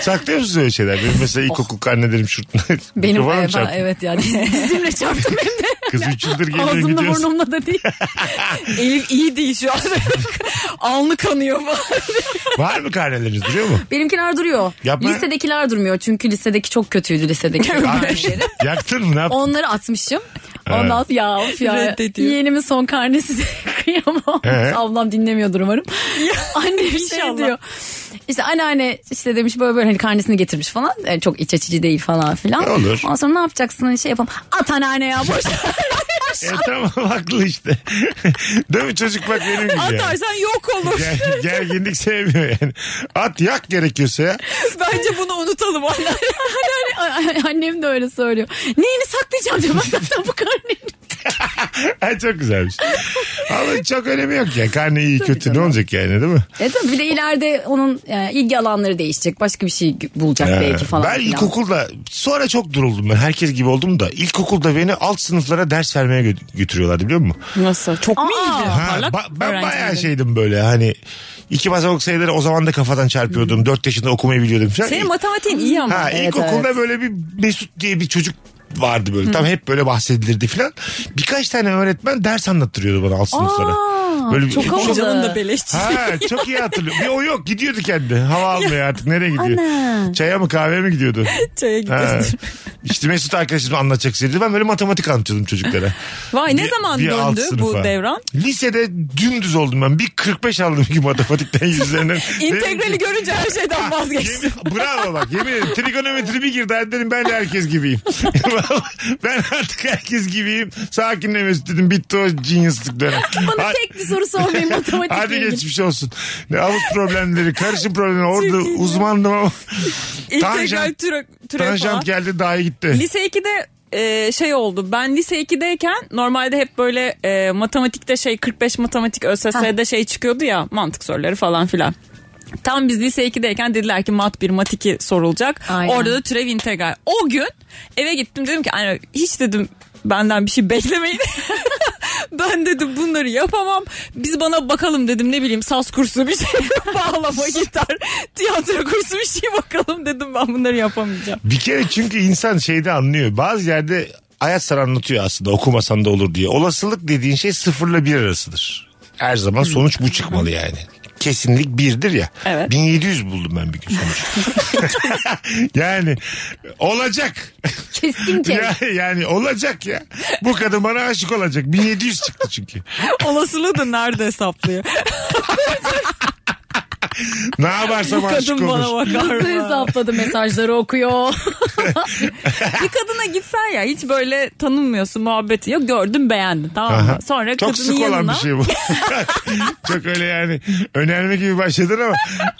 Saklıyor musun öyle şeyler? Benim mesela ilkokul karnelerim şurtuna. (laughs)
Benim
Kafama mı
e, ben,
çarptı?
evet yani dizimle çarptım hem de.
Kız 3 yıldır geliyor
Ağzımla
gidiyorsun.
burnumla
(laughs)
da değil.
Elif iyi değil
(laughs)
şu an. Alnı kanıyor falan.
Var mı karneleriniz duruyor mu?
Benimkiler duruyor.
Yapma.
Lisedekiler durmuyor çünkü lisedeki çok kötüydü lisedeki.
Ay, şey Yaktın mı ne yaptın?
Onları atmışım. Ondan sonra ya of ya.
Reddediyor.
Yeğenimin son karnesi de (laughs) kıyamam.
Ee?
Ablam dinlemiyordur umarım. Anne bir şey
İnşallah.
diyor. İşte anneanne işte demiş böyle böyle hani karnesini getirmiş falan. Yani çok iç açıcı değil falan filan.
E, olur.
Ondan sonra ne yapacaksın hani şey yapalım. At anneanne ya boş. ver.
E tamam (laughs) haklı işte. Değil mi çocuk bak benim gibi yani.
Atarsan yok
(laughs)
olur.
Ger- gerginlik sevmiyor yani. At yak gerekiyorsa ya. (laughs)
Bence bunu unutalım.
Anneanne- Annem de öyle söylüyor. Neyini saklayacağım diyor. Ben zaten bu karneyi.
Ha, çok güzelmiş. Ama çok önemi yok ya. Karne iyi kötü ne olacak yani değil mi?
E tabii bir de ileride onun e, ilgi alanları değişecek. Başka bir şey bulacak belki falan.
ben
filan.
ilkokulda sonra çok duruldum ben. Herkes gibi oldum da. ilkokulda beni alt sınıflara ders vermeye gö- götürüyorlardı biliyor musun?
Nasıl? Çok mu
Aa.
iyiydi?
Ha,
Parlak
ba- ben
öğrenci
bayağı
miydin?
şeydim böyle hani iki basamak sayıları o zaman da kafadan çarpıyordum. 4 yaşında okumayı biliyordum. Şu an-
Senin matematiğin iyi ama.
Ha
Evet,
ilkokulda
evet.
böyle bir Mesut diye bir çocuk vardı böyle. Tam hep böyle bahsedilirdi filan. Birkaç tane öğretmen ders anlattırıyordu bana alt sınıflara. böyle bir- şey
çok
Hocanın
havalı.
da beleşçi.
Ha çok iyi hatırlıyorum. Bir o yok gidiyordu kendi. Hava almıyor artık. Nereye gidiyor?
Ana.
Çaya mı kahveye mi gidiyordu?
(laughs)
Çaya
Ha.
gidiyorsun.
İşte Mesut arkadaşım anlatacak seriydi. Ben böyle matematik anlatıyordum çocuklara.
Vay ne
Bir-
zaman
bir alt
döndü
sınıfa.
bu devran?
Lisede dümdüz oldum ben. Bir 45 aldım ki matematikten
(laughs)
yüzlerinden.
İntegrali görünce her şeyden vazgeçtim.
Yemin- bravo bak yemin ederim. Trigonometri bir girdi. Hadi dedim ben de herkes gibiyim. (laughs) ben artık herkes gibiyim. Sakinle Mesut dedim. Bitti o genius'lık dönem.
Bana
Hadi-
tek bir
(laughs)
soru sormayın matematikle
Hadi
ilgili.
geçmiş olsun. Ne avuç problemleri, karışım problemleri. Orada uzmandım ama
İntegral
Tanjant-
türe, türe falan.
tanjant geldi dahi gitti.
Lise 2'de e, şey oldu. Ben lise 2'deyken normalde hep böyle e, matematikte şey 45 matematik ÖSS'de şey çıkıyordu ya mantık soruları falan filan. Tam biz lise 2'deyken dediler ki mat 1 mat 2 sorulacak.
Aynen.
Orada da türev integral. O gün eve gittim dedim ki hani hiç dedim benden bir şey beklemeyin. (laughs) ben dedim bunları yapamam. Biz bana bakalım dedim ne bileyim saz kursu bir şey (laughs) bağlama gitar tiyatro kursu bir şey bakalım dedim ben bunları yapamayacağım.
Bir kere çünkü insan şeyde anlıyor. Bazı yerde hayat sana anlatıyor aslında okumasan da olur diye. Olasılık dediğin şey sıfırla bir arasıdır. Her zaman
Hmm.
sonuç bu çıkmalı yani. Kesinlik birdir ya.
Evet.
1700 buldum ben bir gün
(laughs)
sonuç. yani
(laughs)
olacak.
Kesin ki.
Ya- yani olacak ya. Bu kadın bana aşık olacak. 1700 çıktı çünkü.
Olasılığı da nerede hesaplıyor?
Ne yaparsam aşık
Kadın bana
olur.
bakar
Nasıl
mı?
hesapladı mesajları okuyor.
(laughs) Bir kadına gitsen ya hiç böyle tanınmıyorsun muhabbeti yok gördün beğendin tamam mı?
Aha.
Sonra
Çok
kadının
sık
yanına
olan bir şey bu. (laughs) Çok öyle yani önerme gibi başladın ama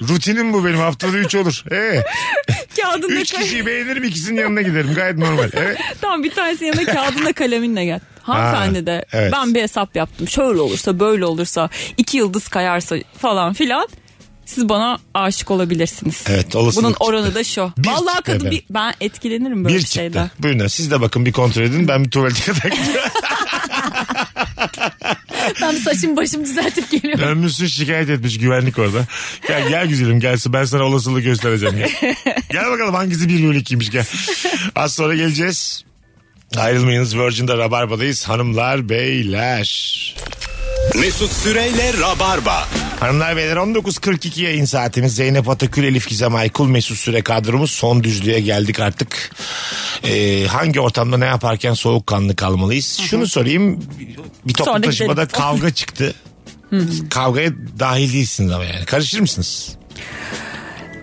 rutinim bu benim haftada 3 olur. Ee,
kağıdında
üç kişiyi beğenirim ikisinin yanına giderim gayet normal. Evet.
(laughs) tamam bir tanesinin yanına kağıdında kaleminle gel. Hanımefendi de
evet.
ben bir hesap yaptım. Şöyle olursa böyle olursa iki yıldız kayarsa falan filan siz bana aşık olabilirsiniz.
Evet, olasılık
Bunun
çıktı.
oranı da şu.
Bir
Vallahi
çıktı
kadın
efendim.
bir, ben etkilenirim böyle
Bir
bir
çıktı.
şeyden.
Buyurun siz de bakın bir kontrol edin ben bir tuvalete kadar (laughs) gidiyorum.
ben saçım başım düzeltip geliyorum.
Dönmüşsün şikayet etmiş güvenlik orada. Gel gel güzelim gelsin ben sana olasılığı göstereceğim.
(laughs)
Gel, gel bakalım hangisi 1 bölü 2'ymiş gel. Az sonra geleceğiz. Ayrılmayınız Virgin'de Rabarba'dayız hanımlar beyler.
Mesut Süreyle Rabarba.
Hanımlar beyler 19.42 yayın saatimiz. Zeynep Atakül, Elif Gizem Aykul, Mesut Süre kadromuz son düzlüğe geldik artık. e, hangi ortamda ne yaparken soğukkanlı kalmalıyız? Şunu sorayım. Bir toplu
Sonra
taşımada
gidelim.
kavga çıktı. Kavgaya dahil değilsiniz ama yani. Karışır mısınız?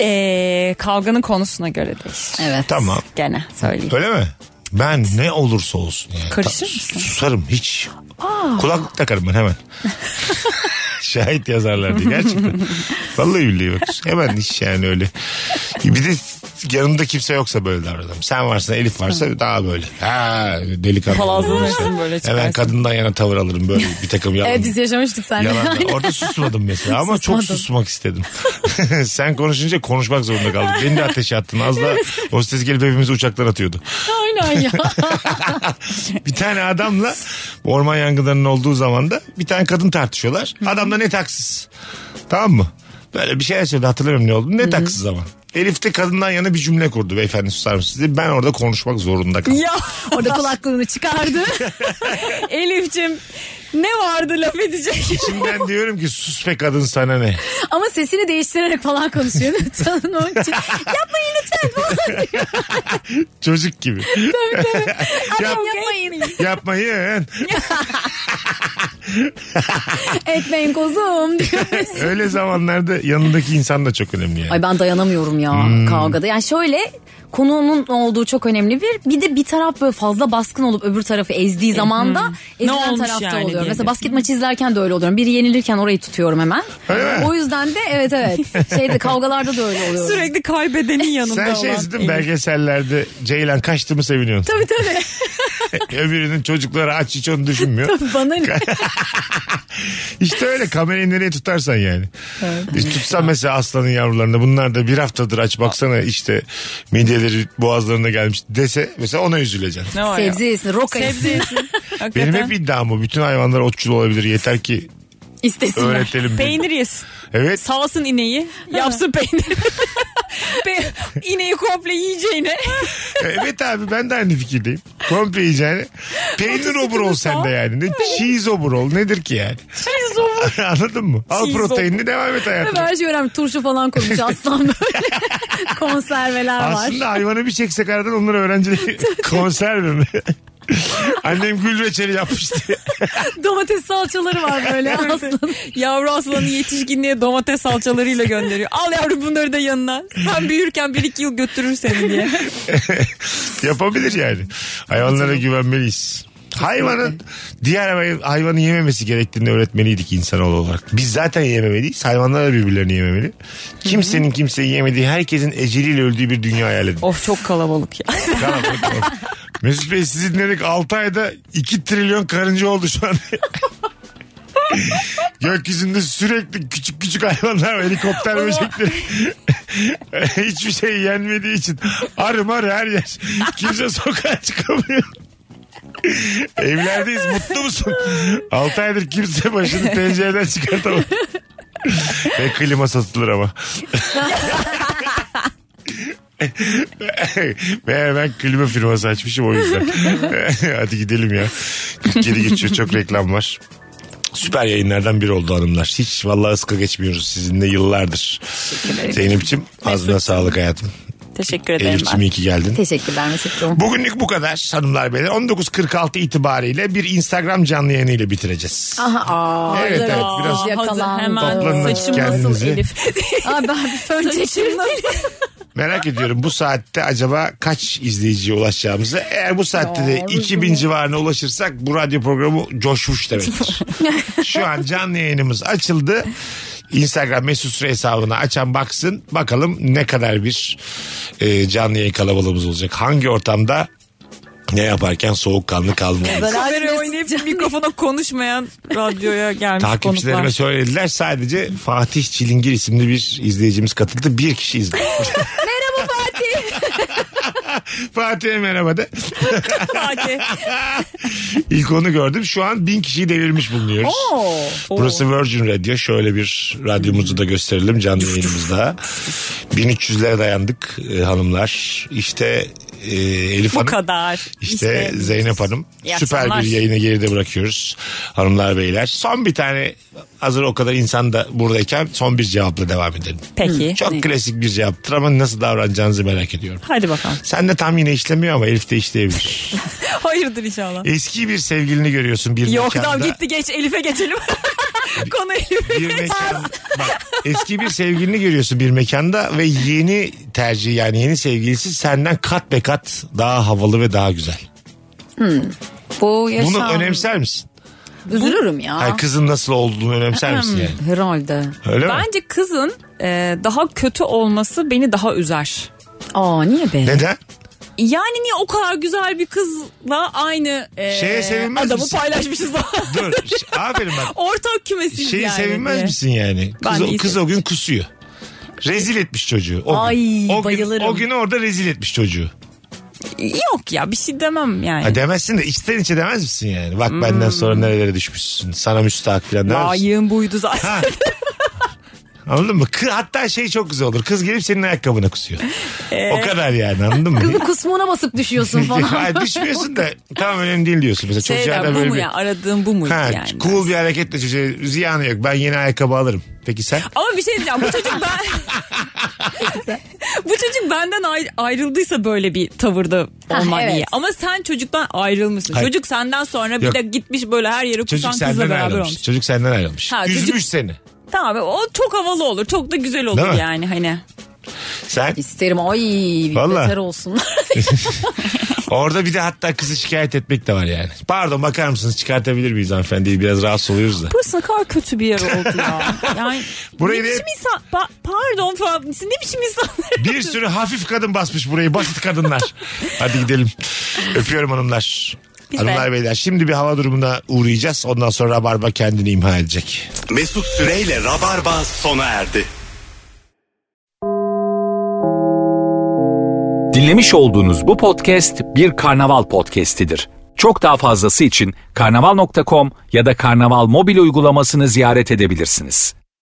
Ee, kavganın konusuna göre değişir.
Evet.
Tamam.
Gene söyleyeyim.
Öyle mi? Ben ne olursa olsun yani.
Karışır
Ta-
mısın?
Susarım hiç. Kulaklık takarım ben
(laughs)
hemen. Şahit yazarlar diye gerçekten. Vallahi billahi bak. Hemen hiç yani öyle. Bir de yanımda kimse yoksa böyle davranırım. Sen varsın Elif varsa daha böyle. Ha delikanlı.
Palazlanırsın böyle
Hemen
çıkarsın.
kadından yana tavır alırım böyle bir takım
(laughs)
yalan.
Evet biz yaşamıştık seninle.
Yalan.
Aynen.
Orada susmadım mesela ama çok
Susmadın.
susmak
(laughs)
istedim. (laughs) Sen konuşunca konuşmak zorunda kaldım. Beni de ateşe attın. Az daha o ses gelip hepimizi uçaktan atıyordu.
(laughs)
(laughs)
Aynen ya.
Bir tane adamla orman yangınlarının olduğu zaman da bir tane kadın tartışıyorlar. Adam da ne taksız. Tamam mı? Böyle bir şeyler söyledi hatırlamıyorum ne oldu. Ne taksız ama. Elif de kadından yana bir cümle kurdu beyefendi susar mısınız diye. Ben orada konuşmak zorunda kaldım.
Ya
Orada
(laughs)
kulaklığını çıkardı.
Elif'cim ne vardı laf edecek?
İçimden diyorum ki sus be kadın sana ne.
Ama sesini değiştirerek falan konuşuyor. (laughs) Tanınmak için. Yapmayın lütfen falan.
Çocuk gibi. Yap,
Yapmayın.
yapmayın.
Etmeyin kuzum diyor.
Öyle zamanlarda yanındaki insan da çok önemli yani.
Ay ben dayanamıyorum ya kavgada. Yani şöyle konunun ne olduğu çok önemli bir. Bir de bir taraf böyle fazla baskın olup öbür tarafı ezdiği zaman da ezilen
olmuş
tarafta
yani
oluyorum.
diye.
Mesela basket maçı izlerken de öyle oluyorum. Biri yenilirken orayı tutuyorum hemen.
Öyle mi?
O yüzden de evet evet. Şeyde kavgalarda da öyle oluyorum.
Sürekli kaybedenin yanında
Sen
olan.
şey izledin mi?
Elif.
belgesellerde Ceylan kaçtı mı seviniyorsun.
Tabii tabii.
(laughs) Öbürünün çocukları aç hiç onu düşünmüyor.
Bana ne?
(laughs) İşte öyle kamerayı nereye tutarsan yani. Biz tutsan mesela aslanın yavrularını bunlar da bir haftadır aç baksana işte midyeleri boğazlarına gelmiş dese mesela ona üzüleceksin.
Ne var ya?
Sebze yesin, roka
Sebze
yesin.
yesin. (laughs) Hakikaten.
Benim hep iddiam bu. Bütün hayvanlar otçul olabilir. Yeter ki
İstesinler.
öğretelim. diye.
Peynir yesin.
Evet.
Salsın ineği. Yapsın peyniri. Pe- ineği komple yiyeceğine.
Evet abi ben de aynı fikirdeyim. Komple yiyeceğini. Peynir obur ol sen de yani. Ne, cheese obur ol. Nedir ki yani?
Cheese
(laughs)
obur.
Anladın mı? Al
Cheese
proteinini devam et hayatına.
Her şey önemli. Turşu falan koymuş aslan böyle.
(laughs)
Konserveler var.
Aslında hayvanı bir çeksek aradan onları
(laughs)
öğrencileri konserve mi? (laughs) Annem gül reçeli yapmıştı. (laughs)
Domates salçaları var böyle aslan.
(laughs) Yavru aslanı yetişkinliğe domates salçalarıyla gönderiyor. Al yavru bunları da yanına. Sen büyürken bir iki yıl götürür seni diye.
Yapabilir yani. Hayvanlara güvenmeliyiz. Hayvanın diğer hay- hayvanı yememesi gerektiğini öğretmeliydik insanoğlu olarak. Biz zaten yememeliyiz. Hayvanlar da birbirlerini yememeli. Kimsenin kimseyi yemediği, herkesin eceliyle öldüğü bir dünya hayal edin.
Of çok kalabalık ya. (laughs)
Tamam, tamam. Mesut Bey sizi dinledik 6 ayda 2 trilyon karınca oldu şu an. (laughs) Gökyüzünde sürekli küçük küçük hayvanlar var, helikopter böcekleri. (laughs) Hiçbir şey yenmediği için arı marı her yer. Kimse sokağa çıkamıyor. (laughs) Evlerdeyiz mutlu musun? 6 aydır kimse başını pencereden çıkartamadı. (laughs) Ve klima satılır ama. Meğer (laughs) ben klima firması açmışım o
(laughs)
yüzden. Hadi gidelim ya. 47 geçiyor çok reklam var. Süper yayınlardan biri oldu hanımlar. Hiç vallahi ıska geçmiyoruz sizinle yıllardır. Zeynep'ciğim ağzına sağlık hayatım.
Teşekkür ederim
Elif'ciğim
ben.
iyi ki geldin.
(laughs) Teşekkürler Mesut'cum.
Bugünlük bu kadar hanımlar beyler. 19.46 itibariyle bir Instagram canlı yayınıyla bitireceğiz.
Aha, aa,
Evet,
hazır
evet,
ol.
biraz
Hazır
yakalandı.
hemen
Toplanın
saçım nasıl
kendinizi.
Elif? (laughs)
Aa, ben bir fön çekeyim.
Merak ediyorum bu saatte acaba kaç izleyiciye ulaşacağımızı. Eğer bu saatte de 2000 civarına ulaşırsak bu radyo programı coşmuş demektir. Şu an canlı yayınımız açıldı. Instagram mesut süre hesabını açan baksın. Bakalım ne kadar bir e, canlı yayın kalabalığımız olacak. Hangi ortamda ne yaparken soğukkanlı kalmalıyız.
Kamera oynayıp mikrofona konuşmayan radyoya gelmiş
Takipçilerime
konuklar.
söylediler sadece Fatih Çilingir isimli bir izleyicimiz katıldı. Bir kişi izledi.
Merhaba Fatih.
(laughs) Fatih'e merhaba de.
Fatih.
İlk onu gördüm. Şu an bin kişiyi devirmiş bulunuyoruz. Burası Virgin Radio. Şöyle bir radyomuzu da gösterelim canlı yayınımızda. 1300'lere dayandık e, hanımlar. İşte e, Elif
Bu
Hanım.
kadar.
İşte Zeynep Hanım.
İyi
Süper
akşamlar.
bir yayını geride bırakıyoruz. Hanımlar beyler. Son bir tane hazır o kadar insan da buradayken son bir cevapla devam edelim.
Peki.
Çok klasik bir cevaptır ama nasıl davranacağınızı merak ediyorum.
Hadi bakalım.
Sen de tam yine işlemiyor ama Elif de işleyebilir.
Hayırdır inşallah.
Eski bir sevgilini görüyorsun bir
Yok
mekanda.
tamam gitti geç Elif'e
(laughs)
geçelim. Konu Elif'e.
Bir mekan, bak, eski bir sevgilini görüyorsun bir mekanda ve yeni tercih yani yeni sevgilisi senden kat be kat daha havalı ve daha güzel.
Bu yaşam.
Bunu önemser misin?
Üzülürüm ya.
Ah.
Hayır, kızın nasıl olduğunu önemser
Hmm.
misin yani?
Herhalde.
Öyle mi?
Bence kızın e, daha kötü olması beni daha üzer.
Aa niye be?
Neden?
Yani niye o kadar güzel bir kızla aynı e,
Şeye sevinmez
adamı
misin?
paylaşmışız (laughs) da.
(laughs) Dur. ş- Aferin bak.
Ortak kümesiyiz
Şeyi
yani. E,
sevinmez
diye.
misin yani? Kız,
Ben de iyi
kız o gün kusuyor. Rezil etmiş çocuğu. O
Ay,
gün. o
bayılırım.
Gün, o gün orada rezil etmiş çocuğu.
Yok ya bir şey demem yani.
Ha demezsin de içten içe demez misin yani?
Hmm.
Bak benden sonra nerelere düşmüşsün. Sana müstahak falan demez misin?
Layığın buydu zaten.
Ha. Anladın mı? Kı- Hatta şey çok güzel olur. Kız gelip senin ayakkabına kusuyor.
Ee,
O kadar yani anladın mı? (laughs)
Kızın kusmuğuna basıp düşüyorsun (laughs) falan.
Hayır, düşmüyorsun da tamam önemli değil diyorsun. Mesela
Şey
çocuğa
der,
da
bu
böyle
mu
bir...
ya aradığın bu muydu
Ha,
yani.
cool bir hareketle çocuğa ziyanı yok. Ben yeni ayakkabı alırım. Peki sen?
Ama bir şey diyeceğim bu çocuk ben...
(laughs)
bu çocuk benden ay- ayrıldıysa böyle bir tavırda
Ha,
olman
evet.
iyi. Ama sen çocuktan ayrılmışsın.
Hayır.
Çocuk senden sonra bir
Yok.
de gitmiş böyle her yere
Çocuk
kusan kızla
senden
beraber
ayrılmış.
olmuş.
Çocuk senden ayrılmış.
Ha,
Üzmüş
çocuk-
seni.
Tamam o çok havalı olur. Çok da güzel olur
Değil mi?
yani hani.
Sen
İsterim ay bir
Vallahi.
beter olsun.
orada bir de hatta kızı şikayet etmek de var yani. Pardon bakar mısınız çıkartabilir miyiz hanımefendiyi biraz rahatsız
(laughs)
oluyoruz da.
(laughs) Burası ne kadar kötü bir yer
(laughs)
oldu ya. Yani
Burayı
ne
ne-
biçim insan pa- pardon falan Siz ne biçim insanlar.
Bir sürü hafif kadın basmış burayı basit kadınlar. Hadi gidelim. Öpüyorum hanımlar.
Biz
hanımlar
de.
beyler şimdi bir hava durumuna uğrayacağız. Ondan sonra Rabarba kendini imha edecek.
Mesut Süreyle Rabarba sona erdi.
Dinlemiş olduğunuz bu podcast bir karnaval podcastidir. Çok daha fazlası için karnaval.com ya da karnaval mobil uygulamasını ziyaret edebilirsiniz.